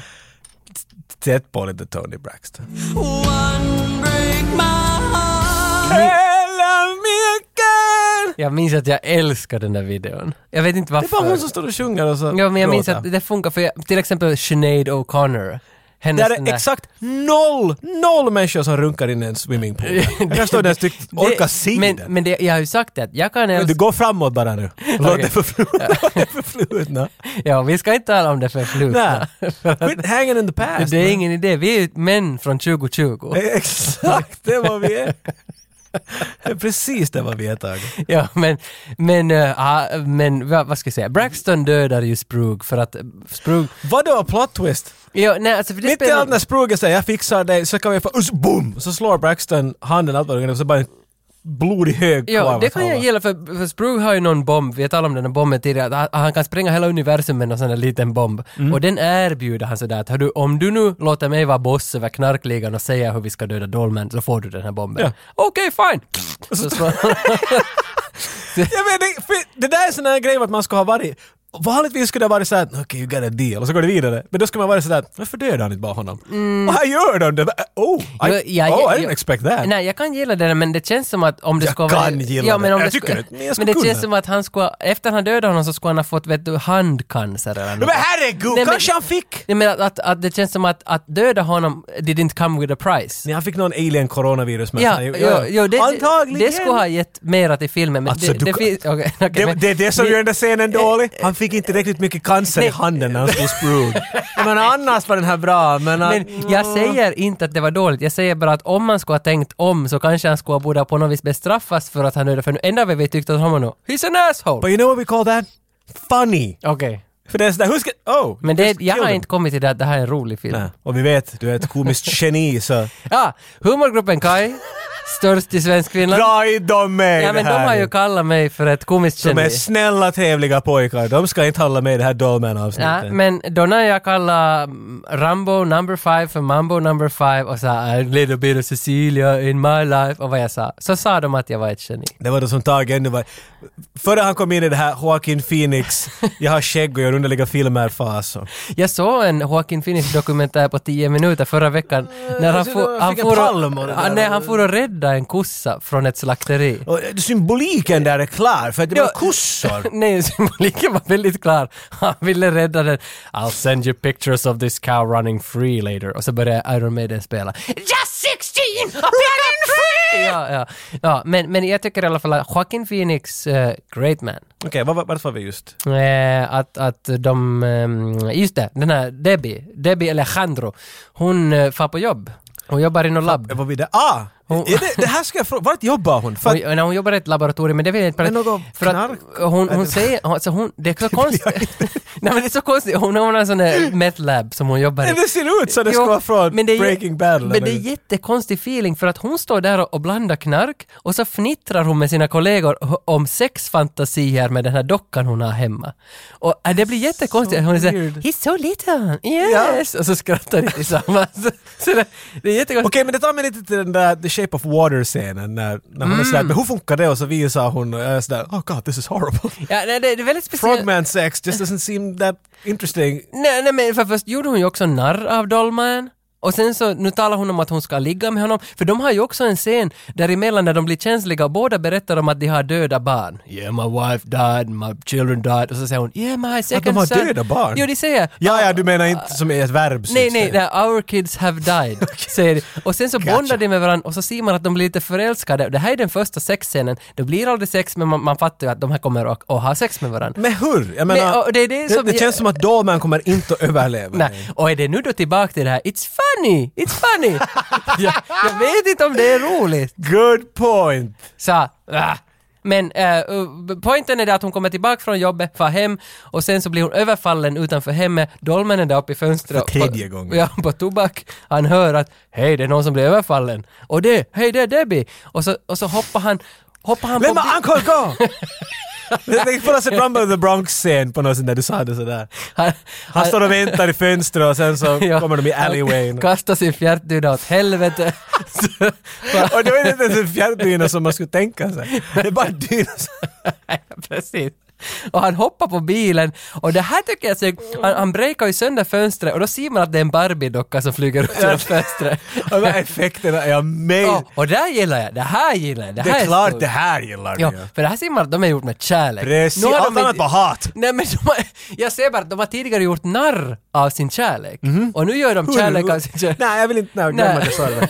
Tätt på lite Tony Braxton. Jag minns att jag älskar den där videon. Jag vet inte Det varför. är bara hon som står och sjunger och så Ja, men jag minns gråter. att det funkar för jag, till exempel Sinead O'Connor. Det Hennes är den det där- exakt noll, noll människor som runkar in i en swimmingpool. Jag förstår inte ens du orkar se men, den. men det, jag har ju sagt det att jag kan Men du älska... går framåt bara nu. Låt Okej. det förflutna. Låt det förflutna. Ja, vi ska inte tala om det förflutna. Nej. Quit hanging in the past. det är ingen idé, vi är ju män från 2020. Exakt, det är vad vi är. Det är precis det vad vi är Tage. Ja, men, men, eh, ah, men vad, vad ska jag säga? Braxton dödar ju Sprug för att eh, Sprug... Vadå plot twist? Ja, nej, alltså för det Mitt i spelar- allt när Spruger säger jag fixar dig så kan vi få us, boom! Så slår Braxton handen allt vad det är och så bara en blodig hög kvar Ja, det åt kan jag alla. gilla för, för Sprue har ju någon bomb, vi har talat om den här bomben tidigare, att han, han kan spränga hela universum med någon sån där liten bomb. Mm. Och den erbjuder han sådär att "Hör du, om du nu låter mig vara boss över knarkligan och säga hur vi ska döda Dolmen så får du den här bomben. Ja. Okej, fine! Så, så, Jag vet, det, för det där är sån här grej att man ska ha varit vanligtvis skulle det ha varit såhär okej, you got a deal och så går det vidare. Men då skulle man vara sådär varför dödar han inte bara honom? Mm. Och här gör de det! Oh, I, Jo, jag- oh, I didn't jag- expect that. Nej, jag kan gilla det där, men det känns som att om det Jag skulle kan vara... gilla ja, men det. om Jag det tycker skulle- inte, men jag skulle Men det kunna. känns som att han skulle... Efter han dödade honom så skulle han ha fått, vet du, handcancer eller något. Men herregud, Nej, men- kanske han fick! Nej, men att, att, att det känns som att, att döda honom did inte come with a price. Nej, han fick någon alien coronavirus men Ja, han- jo, jo, det, Antagligen! det skulle ha gett mera till filmen. Men Alltså, det, du det, kan- finns, okej, okej, Det, men- det är det som vi- gör den där scenen dålig. Han fick inte riktigt mycket cancer i Nej. handen när han slog sprud. men annars var den här bra, men... att- Men jag säger inte att det var dåligt, jag säger bara att om man skulle ha tänkt om så kanske han skulle ha borde ha på något vis bestraffas för att han dödade, för nu enda vi tyckte om honom nu, he's an asshole! But you know what we call that? Funny! Okej. För det är sådär, hur ska... Oh! Men det, just jag kill har them. inte kommit till det att det här är en rolig film. Nej. Och vi vet, du är ett komiskt geni så... Ja, humorgruppen Kai, störst i svensk Finland. Dra inte dem med i Ja men det de här har nu. ju kallat mig för ett komiskt De är geni. snälla trevliga pojkar, de ska inte hålla med i det här Ja, Dolmen-avsnittet. men då när jag kallar mm, Rambo number five för Mambo number five och sa a little bit of Cecilia in my life och vad jag sa, så sa de att jag var ett geni. Det var det som Tage ännu var... Före han kom in i det här Joaquin Phoenix, jag har skägg och gör underliga alltså. filmer-fas. och- Jag såg en Joaquin Phoenix dokumentär på 10 minuter förra veckan när han jag ser for, då, han fick en for, palm och det där. han, nej, han for och rädda en kossa från ett slakteri. Och eh, symboliken där är klar, för att det Ja. var kossor. Nej, symboliken var väldigt klar. Han ville rädda den. I'll send you pictures of this cow running free later. Och så började Iron Maiden spela. Just 16! Running free! Ja, ja. ja men, men jag tycker i alla fall att Joaquin Phoenix, eh, great man. Okej, var, vart var vi just? Eh, att, att de, ehm, just det, den här Debbie, Debbie Alejandro, hon eh, far på jobb. Hon jobbar i något labb. Var vi där? Ah! Är det, det här ska jag fråga, vart jobbar hon? För att, Hon, nej, hon jobbar i ett laboratorium, men det vill jag inte Men något För att knark? hon, hon säger, alltså hon, det är så konstigt. nej men det är så konstigt, hon har en sån där meth lab som hon jobbar i. det ser ut som det Jo, ska vara från men det är- Breaking Bad. eller Men det är något. jättekonstig feeling för att hon står där och och blandar knark och så fnittrar hon med sina kollegor h- om sexfantasier med den här dockan hon har hemma. Och äh, det blir jättekonstigt. hon säger weird. “He's so little, yes” och så skrattar de tillsammans. så det, det är jättekonstigt. Okej, men det tar mig lite till den där The Shape of Water-scenen när, när hon är sådär, men hur funkar det? Och så visar hon och jag är sådär, oh god, this is horrible. Ja, nej, det, det är väldigt speciellt. Frogman sex just doesn't seem that interesting. Nej, nej men för först gjorde hon ju också narr av Dolman. Och sen så, nu talar hon om att hon ska ligga med honom, för de har ju också en scen däremellan när de blir känsliga och båda berättar om att de har döda barn. Yeah my wife died, my children died. Och så säger hon yeah my second de har son. döda barn? Jo, de säger. Ja, ja, du menar inte som är ett verb? Nej, syns nej, det. det är our kids have died, säger de. Och sen så bondar de med varandra och så ser man att de blir lite förälskade. Det här är den första sexscenen. Det blir aldrig sex, men man, man fattar ju att de här kommer att, att ha sex med varandra. Men hur? Jag menar, och det är det som det, jag- känns som att Dolman kommer inte att överleva. Nej. Och är det nu då tillbaka till det här It's funny, it's funny! jag, jag vet inte om det är roligt. Good point! Så, ah. Men eh, uh, poängen är det att hon kommer tillbaka från jobbet, far hem och sen så blir hon överfallen utanför hemmet. Dolmen är där uppe i fönstret. För tredje på, gången. Ja, på tobak. Han hör att hej, det är någon som blir överfallen. Och det, hej det är Debbie! Och så, och så hoppar han, hoppar han Let på... my uncle go! Det det är på något sätt Rumble of the Bronx-scen på något sätt där du sa det sådär. Han, Han står och väntar i fönstret och sen så Ja. kommer de i alleywayn. Han kastar sin fjärtdyna åt helvete. Så- Och det var inte ens en fjärrdyna som man skulle tänka sig. Det är bara en dyna som... Nej, precis. Och han hoppar på bilen och det här tycker jag, så- han, han breakar ju sönder fönstret och då ser man att det är en Barbie-docka som flyger ut genom fönstret. Och de här effekterna är amazing. Ja, och det här gillar jag, det här gillar jag, det Det här är klart stort. det här gillar du Ja, ju. för det här ser man att de är gjort med kärlek. Precis, Nu har de allt annat inte- var hat. Nej men de har, jag ser bara att de har tidigare gjort narr av sin kärlek. Mhm. Och nu gör de kärlek av sin kärlek. Nej, jag vill inte nej, glömma Nej. det sa det.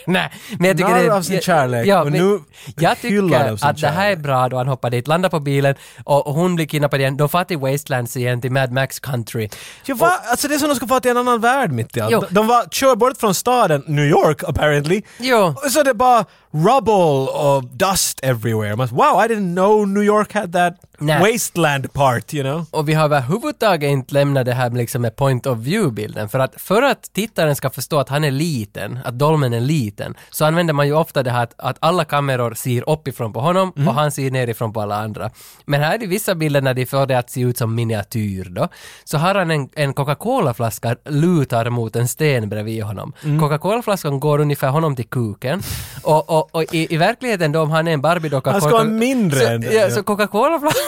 Nej, men jag tycker Narr det är- av sin kärlek, och men nu Jag hyllar tycker de sin att det här är kärlek. bra då han hoppar dit, landar på bilen och, och hon blir kidnappad igen. De far till Wastelands igen, till Mad Max Country. Jo, va? Alltså det är som de skulle vara till en annan värld mitt i allt. Jo. De- De var, kör bort från staden, New York apparently. Jo. Och så det är bara rubble och dust everywhere. Man, wow, I didn't know New York had that Nej. wasteland part, you know. Och vi har överhuvudtaget inte lämnat det här med liksom med point of view-bilden. För att, för att tittaren ska förstå att han är liten, att dolmen är liten, så använder man ju ofta det här att, att alla kameror ser uppifrån på honom Mm. och han ser nerifrån på alla andra. Men här är det vissa bilder när de får det att se ut som miniatyr då. Så har han en, en Coca-Cola-flaska lutar mot en sten bredvid honom. Mm. Coca-Cola-flaskan går ungefär honom till kuken. Och, och, och i, i verkligheten då om han är en Barbie-docka... Han ska Coca- vara mindre så, än det, ja, ja. så Coca-Cola-flaskan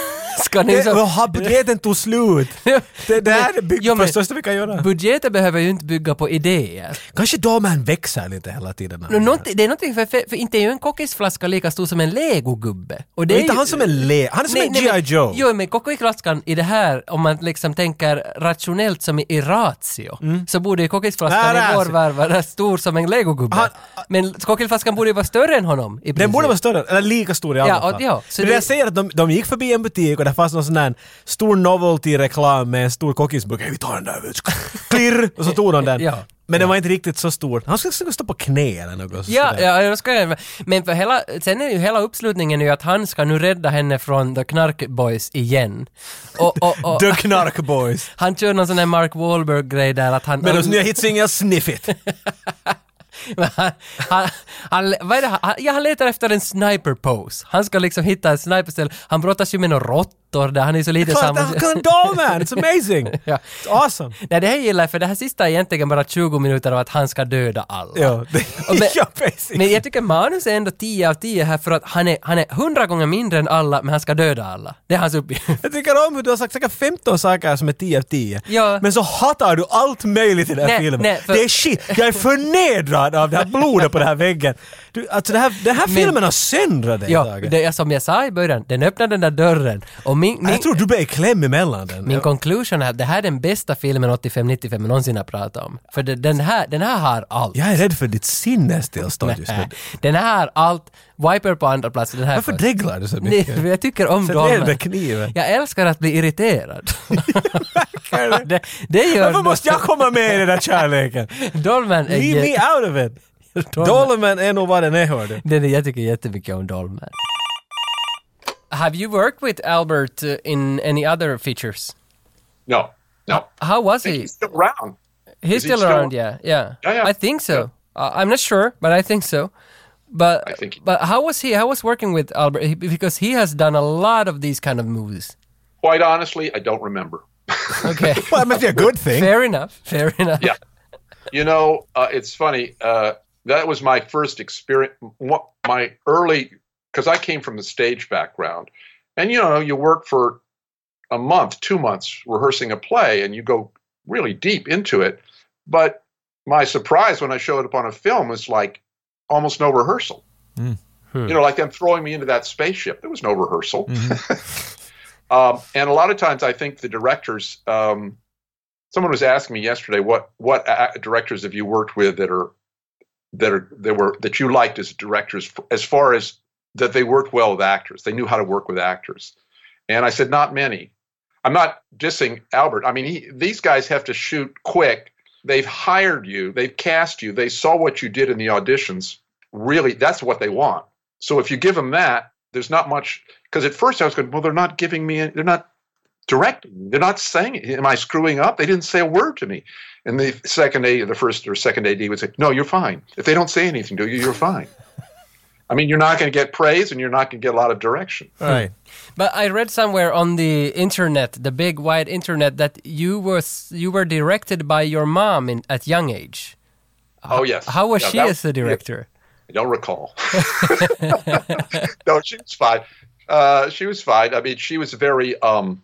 Ska ni Det, så... och har budgeten tog slut. Det där är byggt Jo, på men- det största vi kan göra. Budgeten behöver ju inte bygga på idéer. Kanske Dalman växer lite hela tiden. Nå, någonting- det är någonting för, för, för inte är ju en kokisflaska lika stor som en legogubbe. Och det Det är är inte ju- han som en le... Han är som en G.I. men- Joe. Jo, men kokisflaskan i det här, om man liksom tänker rationellt som i- i ratio, så borde ju kokisflaskan Mm. Nej, i vår ratio. värld vara stor som en legogubbe. Han- men kokisflaskan borde ju vara större än honom i Den princip. borde vara större, eller lika stor i alla Ja, och- fall. ja, så Men det- det jag säger att de, de gick förbi en butik och det fanns någon sån där stor novelty-reklam med en stor kokisburk. Hej, vi tar den där, vet du. Klirr! Och så tog de den. Ja. Men den var inte riktigt så stor. Han skulle skulle stå på knä eller något. så Ja, sådär. ja, jag ska jag. Men för hela, sen är ju hela uppslutningen ju att han ska nu rädda henne från The Knark Boys igen. Och, och, och, The Knark Boys. han kör någon sån här Mark Wahlberg-grej där att han... Med deras nya hitsingel Sniff It. han, han, han, vad är det, han, ja, han letar efter en sniper pose. Han ska liksom hitta en sniperställ. Han brottas ju med några råttor där han är så lite Klart han kan Dalman! It's amazing! Ja. It's awesome! Nej, det här gillar jag för det här sista är egentligen bara 20 minuter av att han ska döda alla. Ja, det, Och men- ja precis. Men jag tycker manus är ändå 10 av 10 här för att han är, han är 100 gånger mindre än alla, men han ska döda alla. Det är hans uppgift. Jag tycker om hur du har sagt säkert 15 saker som är 10 av 10. Ja. Men så hatar du allt möjligt i den här Nej, filmen. nej, för- Det är shit. Jag är förnedrad av det här blodet på den här väggen. Du, alltså den här, den här filmen har söndrat dig Ja, Tage. det är som jag sa i början, den öppnar den där dörren och min, min, Jag tror du blev i kläm emellan den. min conclusion är att det här är den bästa filmen 85-95 någonsin har pratat om. För det, den, här, den här har allt. Jag är rädd för ditt sinnestillstånd just nu. Nej, Den här har allt. Wiper på andra plats. Den här Varför först. dreglar du så Nej, mycket? för jag tycker om Sätt Dolmen. ner med kniven. Jag älskar att bli irriterad. det. det, det gör Varför måste jag komma med i den där kärleken? Dolmen är... Leave me jätte- out of it! Dolmen- Dolmen är nog vad den är hör du. Den är, jag tycker jättemycket om Dolmen. Have you worked with Albert uh, in any other features? No, no. How was he? He's still around. He's he still still- around, yeah, yeah. Yeah, yeah, I think so. Uh, I'm not sure, but I think so. But I think- but how was he? How was working with Albert? He- Because he has done a lot of these kind of movies. Quite honestly, I don't remember. Okay, Well, it must be a good thing. fair enough. Fair enough. Yeah. you know, uh, it's funny. Uh, that was my first experience. What my early because I came from the stage background, and you know, you work for a month, two months rehearsing a play, and you go really deep into it. But my surprise when I showed up on a film was like almost no rehearsal. You know, like them throwing me into that spaceship. There was no rehearsal. um, and a lot of times, I think the directors. Um, someone was asking me yesterday what what a- directors have you worked with that are that are that were that you liked as directors f- as far as that they worked well with actors they knew how to work with actors and i said not many i'm not dissing albert i mean he, these guys have to shoot quick they've hired you they've cast you they saw what you did in the auditions really that's what they want so if you give them that there's not much because at first i was going well they're not giving me any- they're not directing. They're not saying, "Am I screwing up?" They didn't say a word to me. And the second AD, the first or second AD would say, "No, you're fine." If they don't say anything to you, you're fine. I mean, you're not going to get praise, and you're not going to get a lot of direction. Right. But I read somewhere on the internet, the big wide internet, that you were s- you were directed by your mom in, at young age. Oh yes. How was Yeah, she that- as a director? I don't recall. no, she was fine. Uh, she was fine. I mean, she was very. Um,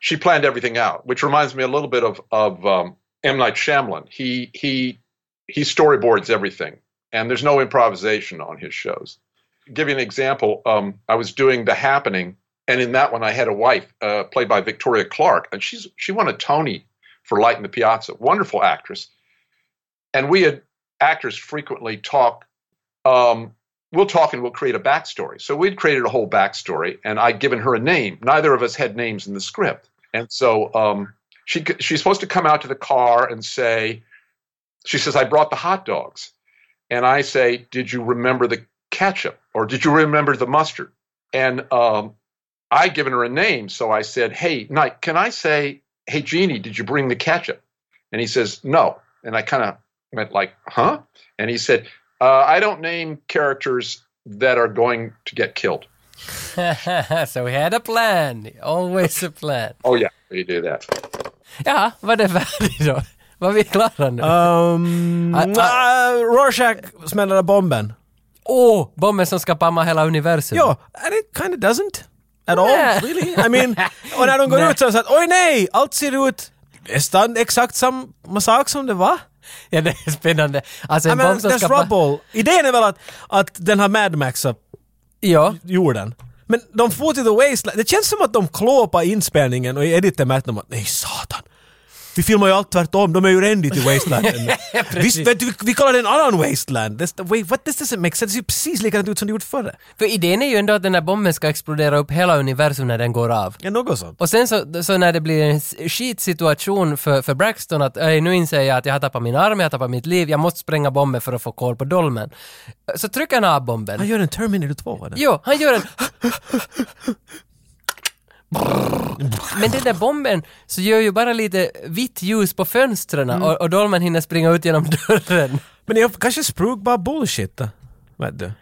she planned everything out, which reminds me a little bit of of um, M Night Shyamalan. He he he storyboards everything, and there's no improvisation on his shows. Give you an example. Um, I was doing The Happening, and in that one, I had a wife uh, played by Victoria Clark, and she's she won a Tony for Light in the Piazza. Wonderful actress, and we had actors frequently talk um, we'll talk and we'll create a backstory. So we'd created a whole backstory, and I'd given her a name. Neither of us had names in the script, and so um, she c- she's supposed to come out to the car and say, she says, "I brought the hot dogs," and I say, "Did you remember the ketchup or did you remember the mustard?" And um, I'd given her a name, so I said, "Hey, Knight, can I say, hey Jeannie, did you bring the ketchup?" And he says, "No," and I kind of went like, "Huh?" And he said, uh, I don't name characters that are going to get killed. so we had a plan. Always a plan. Oh yeah, you do that. Ja, var det färdigt då? Var vi klara nu? Åh, Um, Ah, ah. uh, Rorschach smällde bomben. bomben som ska pamma hela universum. Ja, and it kind of doesn't. at all? Really? I mean, och när de går ut så är det så att oj nej, allt ser ut nästan exakt samma sak som det var. Ja, det är spännande. Alltså I en mean, bomb som there's ska... bara- rubble. Idén är väl att, att den har Mad Maxat Ja. jorden. Men de får till The Wasteland. Det känns som att de klåpar inspelningen och i editen märkte de att nej satan. Vi filmar ju allt tvärtom, de är ju redan i Wasteland ännu. Visst, vet du, vi, vi kallar den en annan Wasteland. This, wait, what, this doesn't make sense. Det ser ju precis likadant ut som det gjort förr. För idén är ju ändå att den här bomben ska explodera upp hela universum när den går av. Ja, något sånt. Och sen så, så när det blir en s- skitsituation för, för Braxton att "Ej, nu inser jag att jag har tappat min arm, jag har tappat mitt liv, jag måste spränga bomben för att få koll på dolmen. Så trycker han av bomben. Han gör en Terminator 2. Eller? Jo, han gör en... Men den där bomben så gör ju bara lite vitt ljus på fönstren Mm. och, och dolmen hinner springa ut genom dörren. Men jag, kanske Sprug bara bullshit då. Vet du?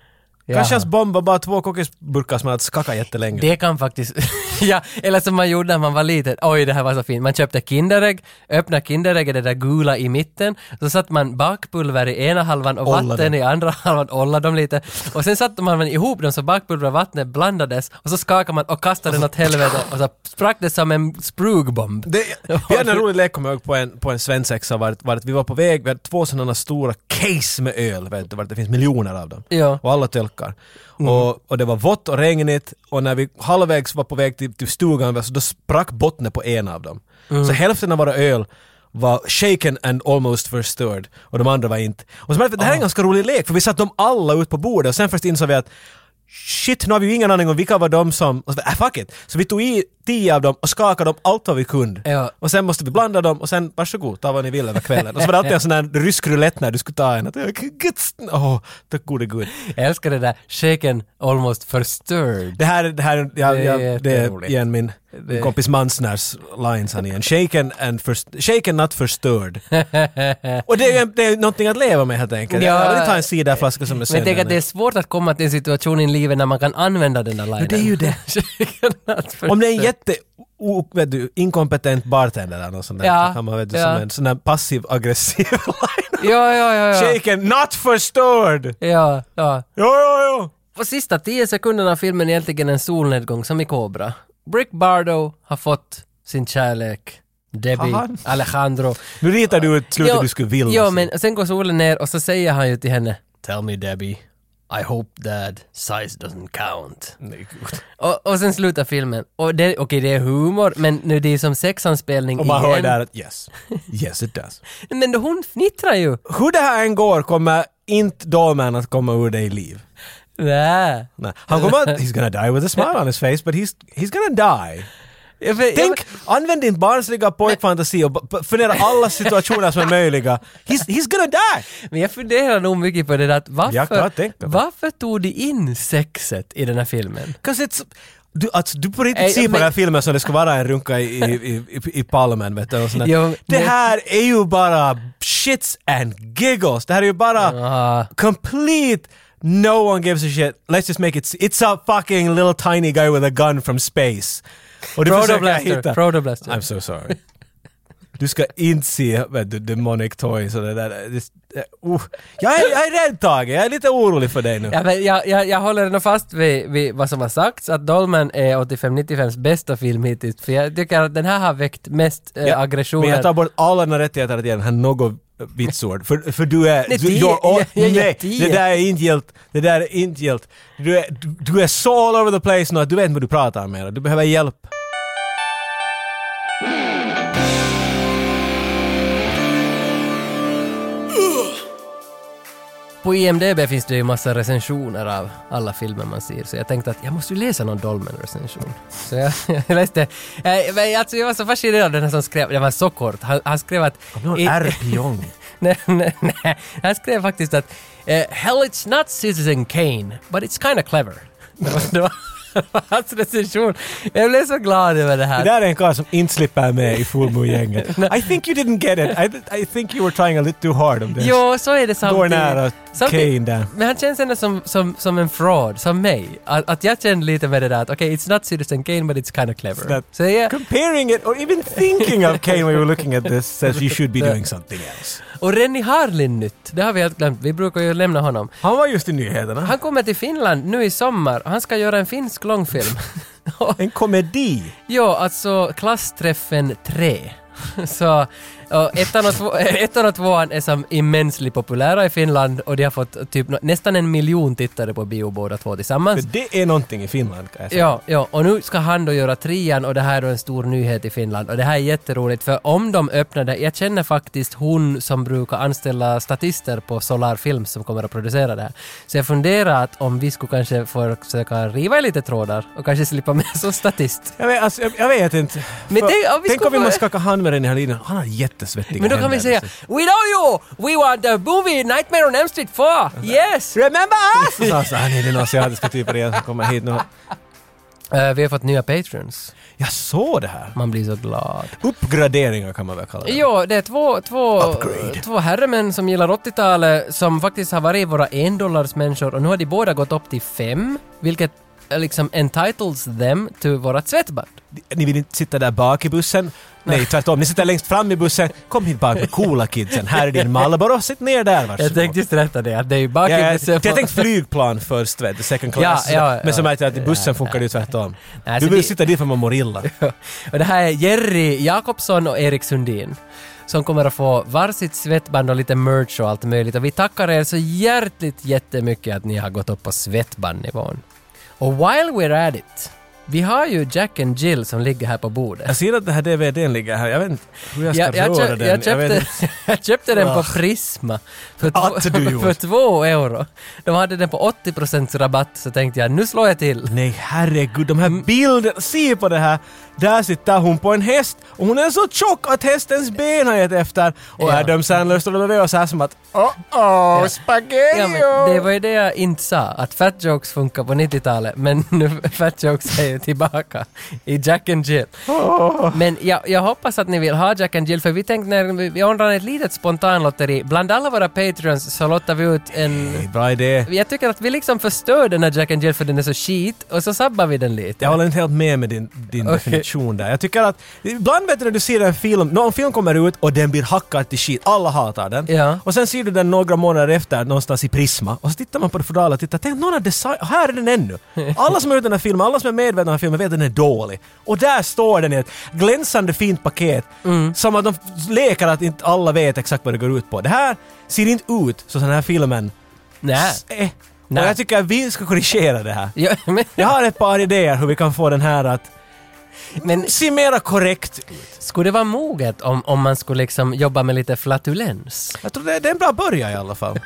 Jaha. Kanske hans bomb var bara två kokosburkar som har skaka jättelänge. Det kan faktiskt... ja, eller som man gjorde när man var liten. Oj, det här var så fint. Man köpte Kinderägg, öppnade Kinderägget, det där gula i mitten. Så satte man bakpulver i ena halvan och Ollade. vatten i andra halvan, ollade dem lite. Och sen satte man ihop dem så bakpulver och vattnet blandades och så skakade man och kastade den åt helvete och så sprack det som en sprugbomb. Det, vi hade en rolig lek, kommer jag ihåg, på en, på en svensexa vart, vart vi var på väg, vi hade två sådana stora case med öl, vet du, vart det finns miljoner av dem. Ja. Och alla tölkar. Och, och det var vått och regnigt och när vi halvvägs var på väg till, till stugan så då sprack bottnen på en av dem. Så hälften av våra öl var shaken and almost förstörd och de andra var inte. Och så märkte vi att det här är en ganska rolig lek för vi satte dem alla ut på bordet och sen först insåg vi att shit, nu har vi ju ingen aning om vilka var de som... Och så, äh, fuck it. Så vi tog i tio av dem och skakade dem allt vad vi kunde. Ja. Och sen måste vi blanda dem och sen varsågod, ta vad ni vill över kvällen. Och så var det alltid en sån där rysk roulette när du skulle ta en. Att, äh, guts, Åh, tack gode gud. Jag älskar det där shaken almost förstörd. Det här, det här, jag, Det är jag, det är jätteroligt. igen min Det- kompis Mansnärs lines han igen. Shaken, and först, shaken not förstörd. och det är ju en- det är ju någonting att leva med helt enkelt. Ja. Jag vill inte ha en ciderflaska som är Men tänk sönder. att det är svårt att komma till en situation i livet när man kan använda den där linen. det är ju det. Shaken not Om det är en förstörd. jätte o, vet du, inkompetent bartender eller något sånt där, Ja, så kan man vet du, ja. som en sån där passiv aggressiv line. Ja, ja, ja. ja. Shaken, not förstörd! Ja, ja. Jo, jo, jo! På sista tio sekunderna av filmen är egentligen en solnedgång som i Cobra. Brick Bardo har fått sin kärlek. Debbie, Har han? Alejandro. Nu ritar du ut slutet Jo, du skulle vilja Jo, se. men sen går solen ner och så säger han ju till henne Tell me Debbie, I hope that size doesn't count. Nej, gud. Och, och sen slutar filmen. Och det, okej, det är humor, men nu det är som sexanspelning Och man hör igen. där att yes, yes it does. Men hon fnittrar ju. Hur det här än går kommer inte Dolman att komma ur dig i liv. Nä. Nej. Han kommer att, he's gonna die with a smile on his face, but he's, he's gonna die. Jag vet- jag Tänk, använd din barnsliga pojkfantasi och b- b- fundera alla situationer som är möjliga. He's, he's gonna die! Men jag funderar nog mycket på det där att Jag kan varför, tänka på det. varför tog de in sexet i den här filmen? Cause it's, du, alltså, du på riktigt Ej, ser på men- den här filmen som det ska vara en runka i, i, i, i- i palmen. Vet du, och sånt där. Jo, det men- här är ju bara shits and giggles. Det här är ju bara Ah, complete No one gives a shit. Let's just make it... s- It's a fucking little tiny guy with a gun from space. Och du försöker Protoblaster, hitta- protoblaster. I'm so sorry. Du ska inte se vet du, demonic toys och det där. Det, uh. jag, är, jag är rädd Tage, jag är lite orolig för dig nu. Ja, men jag, jag, jag håller nog fast vid, vid vad som har sagts, att Dolman är 85-95s bästa film hittills. För jag tycker att den här har väckt mest eh, Ja, aggressioner. Men jag tar bort alla dina rättigheter att ge den här något vitsord. För, för du är... Nej, du, tio. you're all- Jag- jag ger nej, tio. det där är inte gillt. Det där är inte gillt. Du är, du, du är så all over the place nu att du vet inte vad du pratar om mera. Du behöver hjälp. På IMDB finns det ju massa recensioner av alla filmer man ser, så jag tänkte att jag måste ju läsa någon Dolmen-recension. Så jag, jag läste. Eh, men alltså jag var så fascinerad av den här som skrev, den var så kort, han, han skrev att... i- R-pion. nej, nej, nej. Han skrev faktiskt att eh, “Hell it's not Citizen Kane, but it's kinda clever”. Det var, det var hans recension. Jag blev så glad över det Det här. där är en karl som inte slipper med i Fullmoon-gänget. I think you didn't get it. I, th- I think you were trying a little too hard on this. Jo, så är det Du samtidigt. går nära Kane Samtidigt- där. Men han känns ändå som, som, som en fraud, som mig. Att, att jag känner lite med det där att okej, it's not Citizen Kane, but it's kinda clever. That- Så jag, Comparing it or even thinking of Kane when you were looking at this says you should be doing something else. och Rennie Harlin nytt, det har vi helt glömt. Vi brukar ju lämna honom. Han var just i nyheterna. Han kommer till Finland nu i sommar och han ska göra en finsk långfilm. En komedi! Ja, alltså klassträffen 3. Så och ettan, och två, ettan och tvåan är som immensely populära i Finland och de har fått typ nå- nästan en miljon tittare på bio båda två För tillsammans. det är någonting i Finland kan jag säga. Alltså- Ja, ja, och nu ska han då göra trean och det här är då en stor nyhet i Finland och det här är jätteroligt för om de öppnar det, jag känner faktiskt hon som brukar anställa statister på Solar Films som kommer att producera det här. Så jag funderar att om vi skulle kanske försöka riva i lite trådar och kanske slippa med som statist. Jag vet, alltså, jag, jag vet inte. Men För- tänk om vi tänk skulle om vi få- måste skaka hand med den här linjen. Han har jättesvettiga Men då kan vi händer, liksom. säga så- We know you! We want the movie Nightmare on Elm Street 4! Yes! Remember us! Så sa han så här, "Nej, det är några asiatiska typer igen som kommer hit nu. Eh, vi har fått nya patrons. Jag såg det här. Man blir så glad. Uppgraderingar kan man väl kalla det. Ja, det är två, två, Upgrade. två herremän som gillar 80-talet som faktiskt har varit våra endollarsmänniskor och nu har de båda gått upp till fem, vilket eh, liksom entitles them to vårat svettband. Ni vill inte sitta där bak i bussen. Nej, tvärtom. Ni sitter längst fram i bussen. Kom hit bak med coola kidsen. Här är din Marlboro. Sitt ner där, varsågod. Jag tänkte just rätta det, att det är ju Ja, jag, bakgrunden. jag tänkte flygplan först, vet du, second class. Ja, ja, men så ja. märkte jag att i Ja, bussen funkar det ju nej, tvärtom. Nej, Du så vill vi- sitta dit för man mår illa. och det här är Jerry Jakobsson och Erik Sundin som kommer att få varsitt svettband och lite merch och allt möjligt. Och vi tackar er så hjärtligt jättemycket att ni har gått upp på svettbandnivån. Och while we're at it, vi har ju Jack and Jill som ligger här på bordet. Jag ser att den här DVDn ligger här. Jag vet inte hur jag ska Jag, jag, röra kö- den. jag, vet köpte, inte. Ah. jag köpte den på Prisma för, Att två- du gjorde. för två euro. De hade den på 80% rabatt så tänkte jag nu slår jag till. Nej herregud, de här Mm. bilderna. Se på det här! Där sitter hon på en häst och hon är så tjock att hästens ben har gett efter. Och Ja. Adam Sandler står bredvid och så här som att oh-oh, Ja. spaghetti! Ja, men det var ju det jag inte sa, att fat jokes funkar på 90-talet, men nu fat jokes är ju tillbaka i Jack and Jill. Men jag, jag hoppas att ni vill ha Jack and Jill, för vi tänkte när vi, vi ordnar ett litet spontanlotteri, bland alla våra patreons så lottar vi ut en... Bra idé. Jag tycker att vi liksom förstör den här Jack and Jill för den är så skit, och så sabbar vi den lite. Jag håller inte helt med med din, din Okej. definition där. Jag tycker att ibland vet du när du ser en film, någon film kommer ut och den blir hackad till skit, alla hatar den. Ja. Och sen ser du den några månader efter någonstans i Prisma och så tittar man på det fodralet och tittar, tänk någon har design, här är den ännu. Alla som har gjort den här filmen, alla som är medvetna om den här filmen vet att den är dålig. Och där står den i ett glänsande fint paket Mm. som att de leker att inte alla vet exakt vad det går ut på. Det här ser inte ut så den här filmen Nej. är. Nej. Och jag tycker att vi ska korrigera det här. Ja, men, Jag har ett par idéer hur vi kan få den här att men se mera korrekt skulle det vara moget om, om man skulle liksom jobba med lite flatulens? Jag tror det, det är en bra början i alla fall.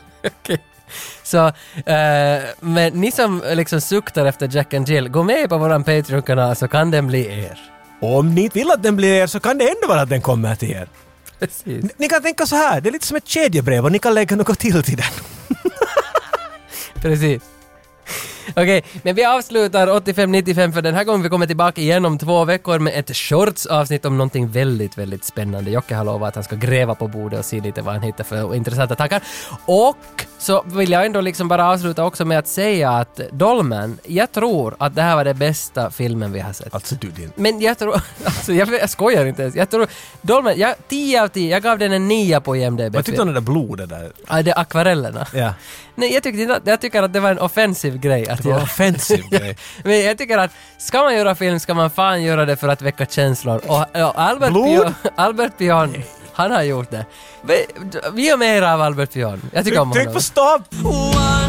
Så, eh, men ni som liksom suktar efter Jack and Jill, gå med på våran Patreon-kanal så kan den bli er. Om ni inte vill att den blir er så kan det ändå vara att den kommer till er. Precis. Ni, ni kan tänka så här, det är lite som ett kedjebrev och ni kan lägga något till till den. Precis. Okej, men vi avslutar 85-95 för den här gången. Vi kommer tillbaka igen om två veckor med ett shorts-avsnitt om någonting väldigt, väldigt spännande. Jocke har lovat att han ska gräva på bordet och se lite vad han hittar för intressanta tankar. Och så vill jag ändå liksom bara avsluta också med att säga att Dolmen, jag tror att det här var den bästa filmen vi har sett. Alltså du din... Men jag tror, alltså jag, jag skojar inte ens. Jag tror, Dolmen, jag, 10 av 10, jag gav den en 9 på IMDB. Vad tyckte du om det där blodet där? Ja, det är akvarellerna. Ja. Nej, jag, tyckte, inte att- jag tycker att det var en offensiv grej att Det var en göra. offensiv grej. Men jag tycker att ska man göra film ska man fan göra det för att väcka känslor. Och, och Albert, Blod? Pion, Albert Pion, han har gjort det. Vi, vi är mer av Albert Pion. Jag tycker om Tryck honom. på stopp! Wow.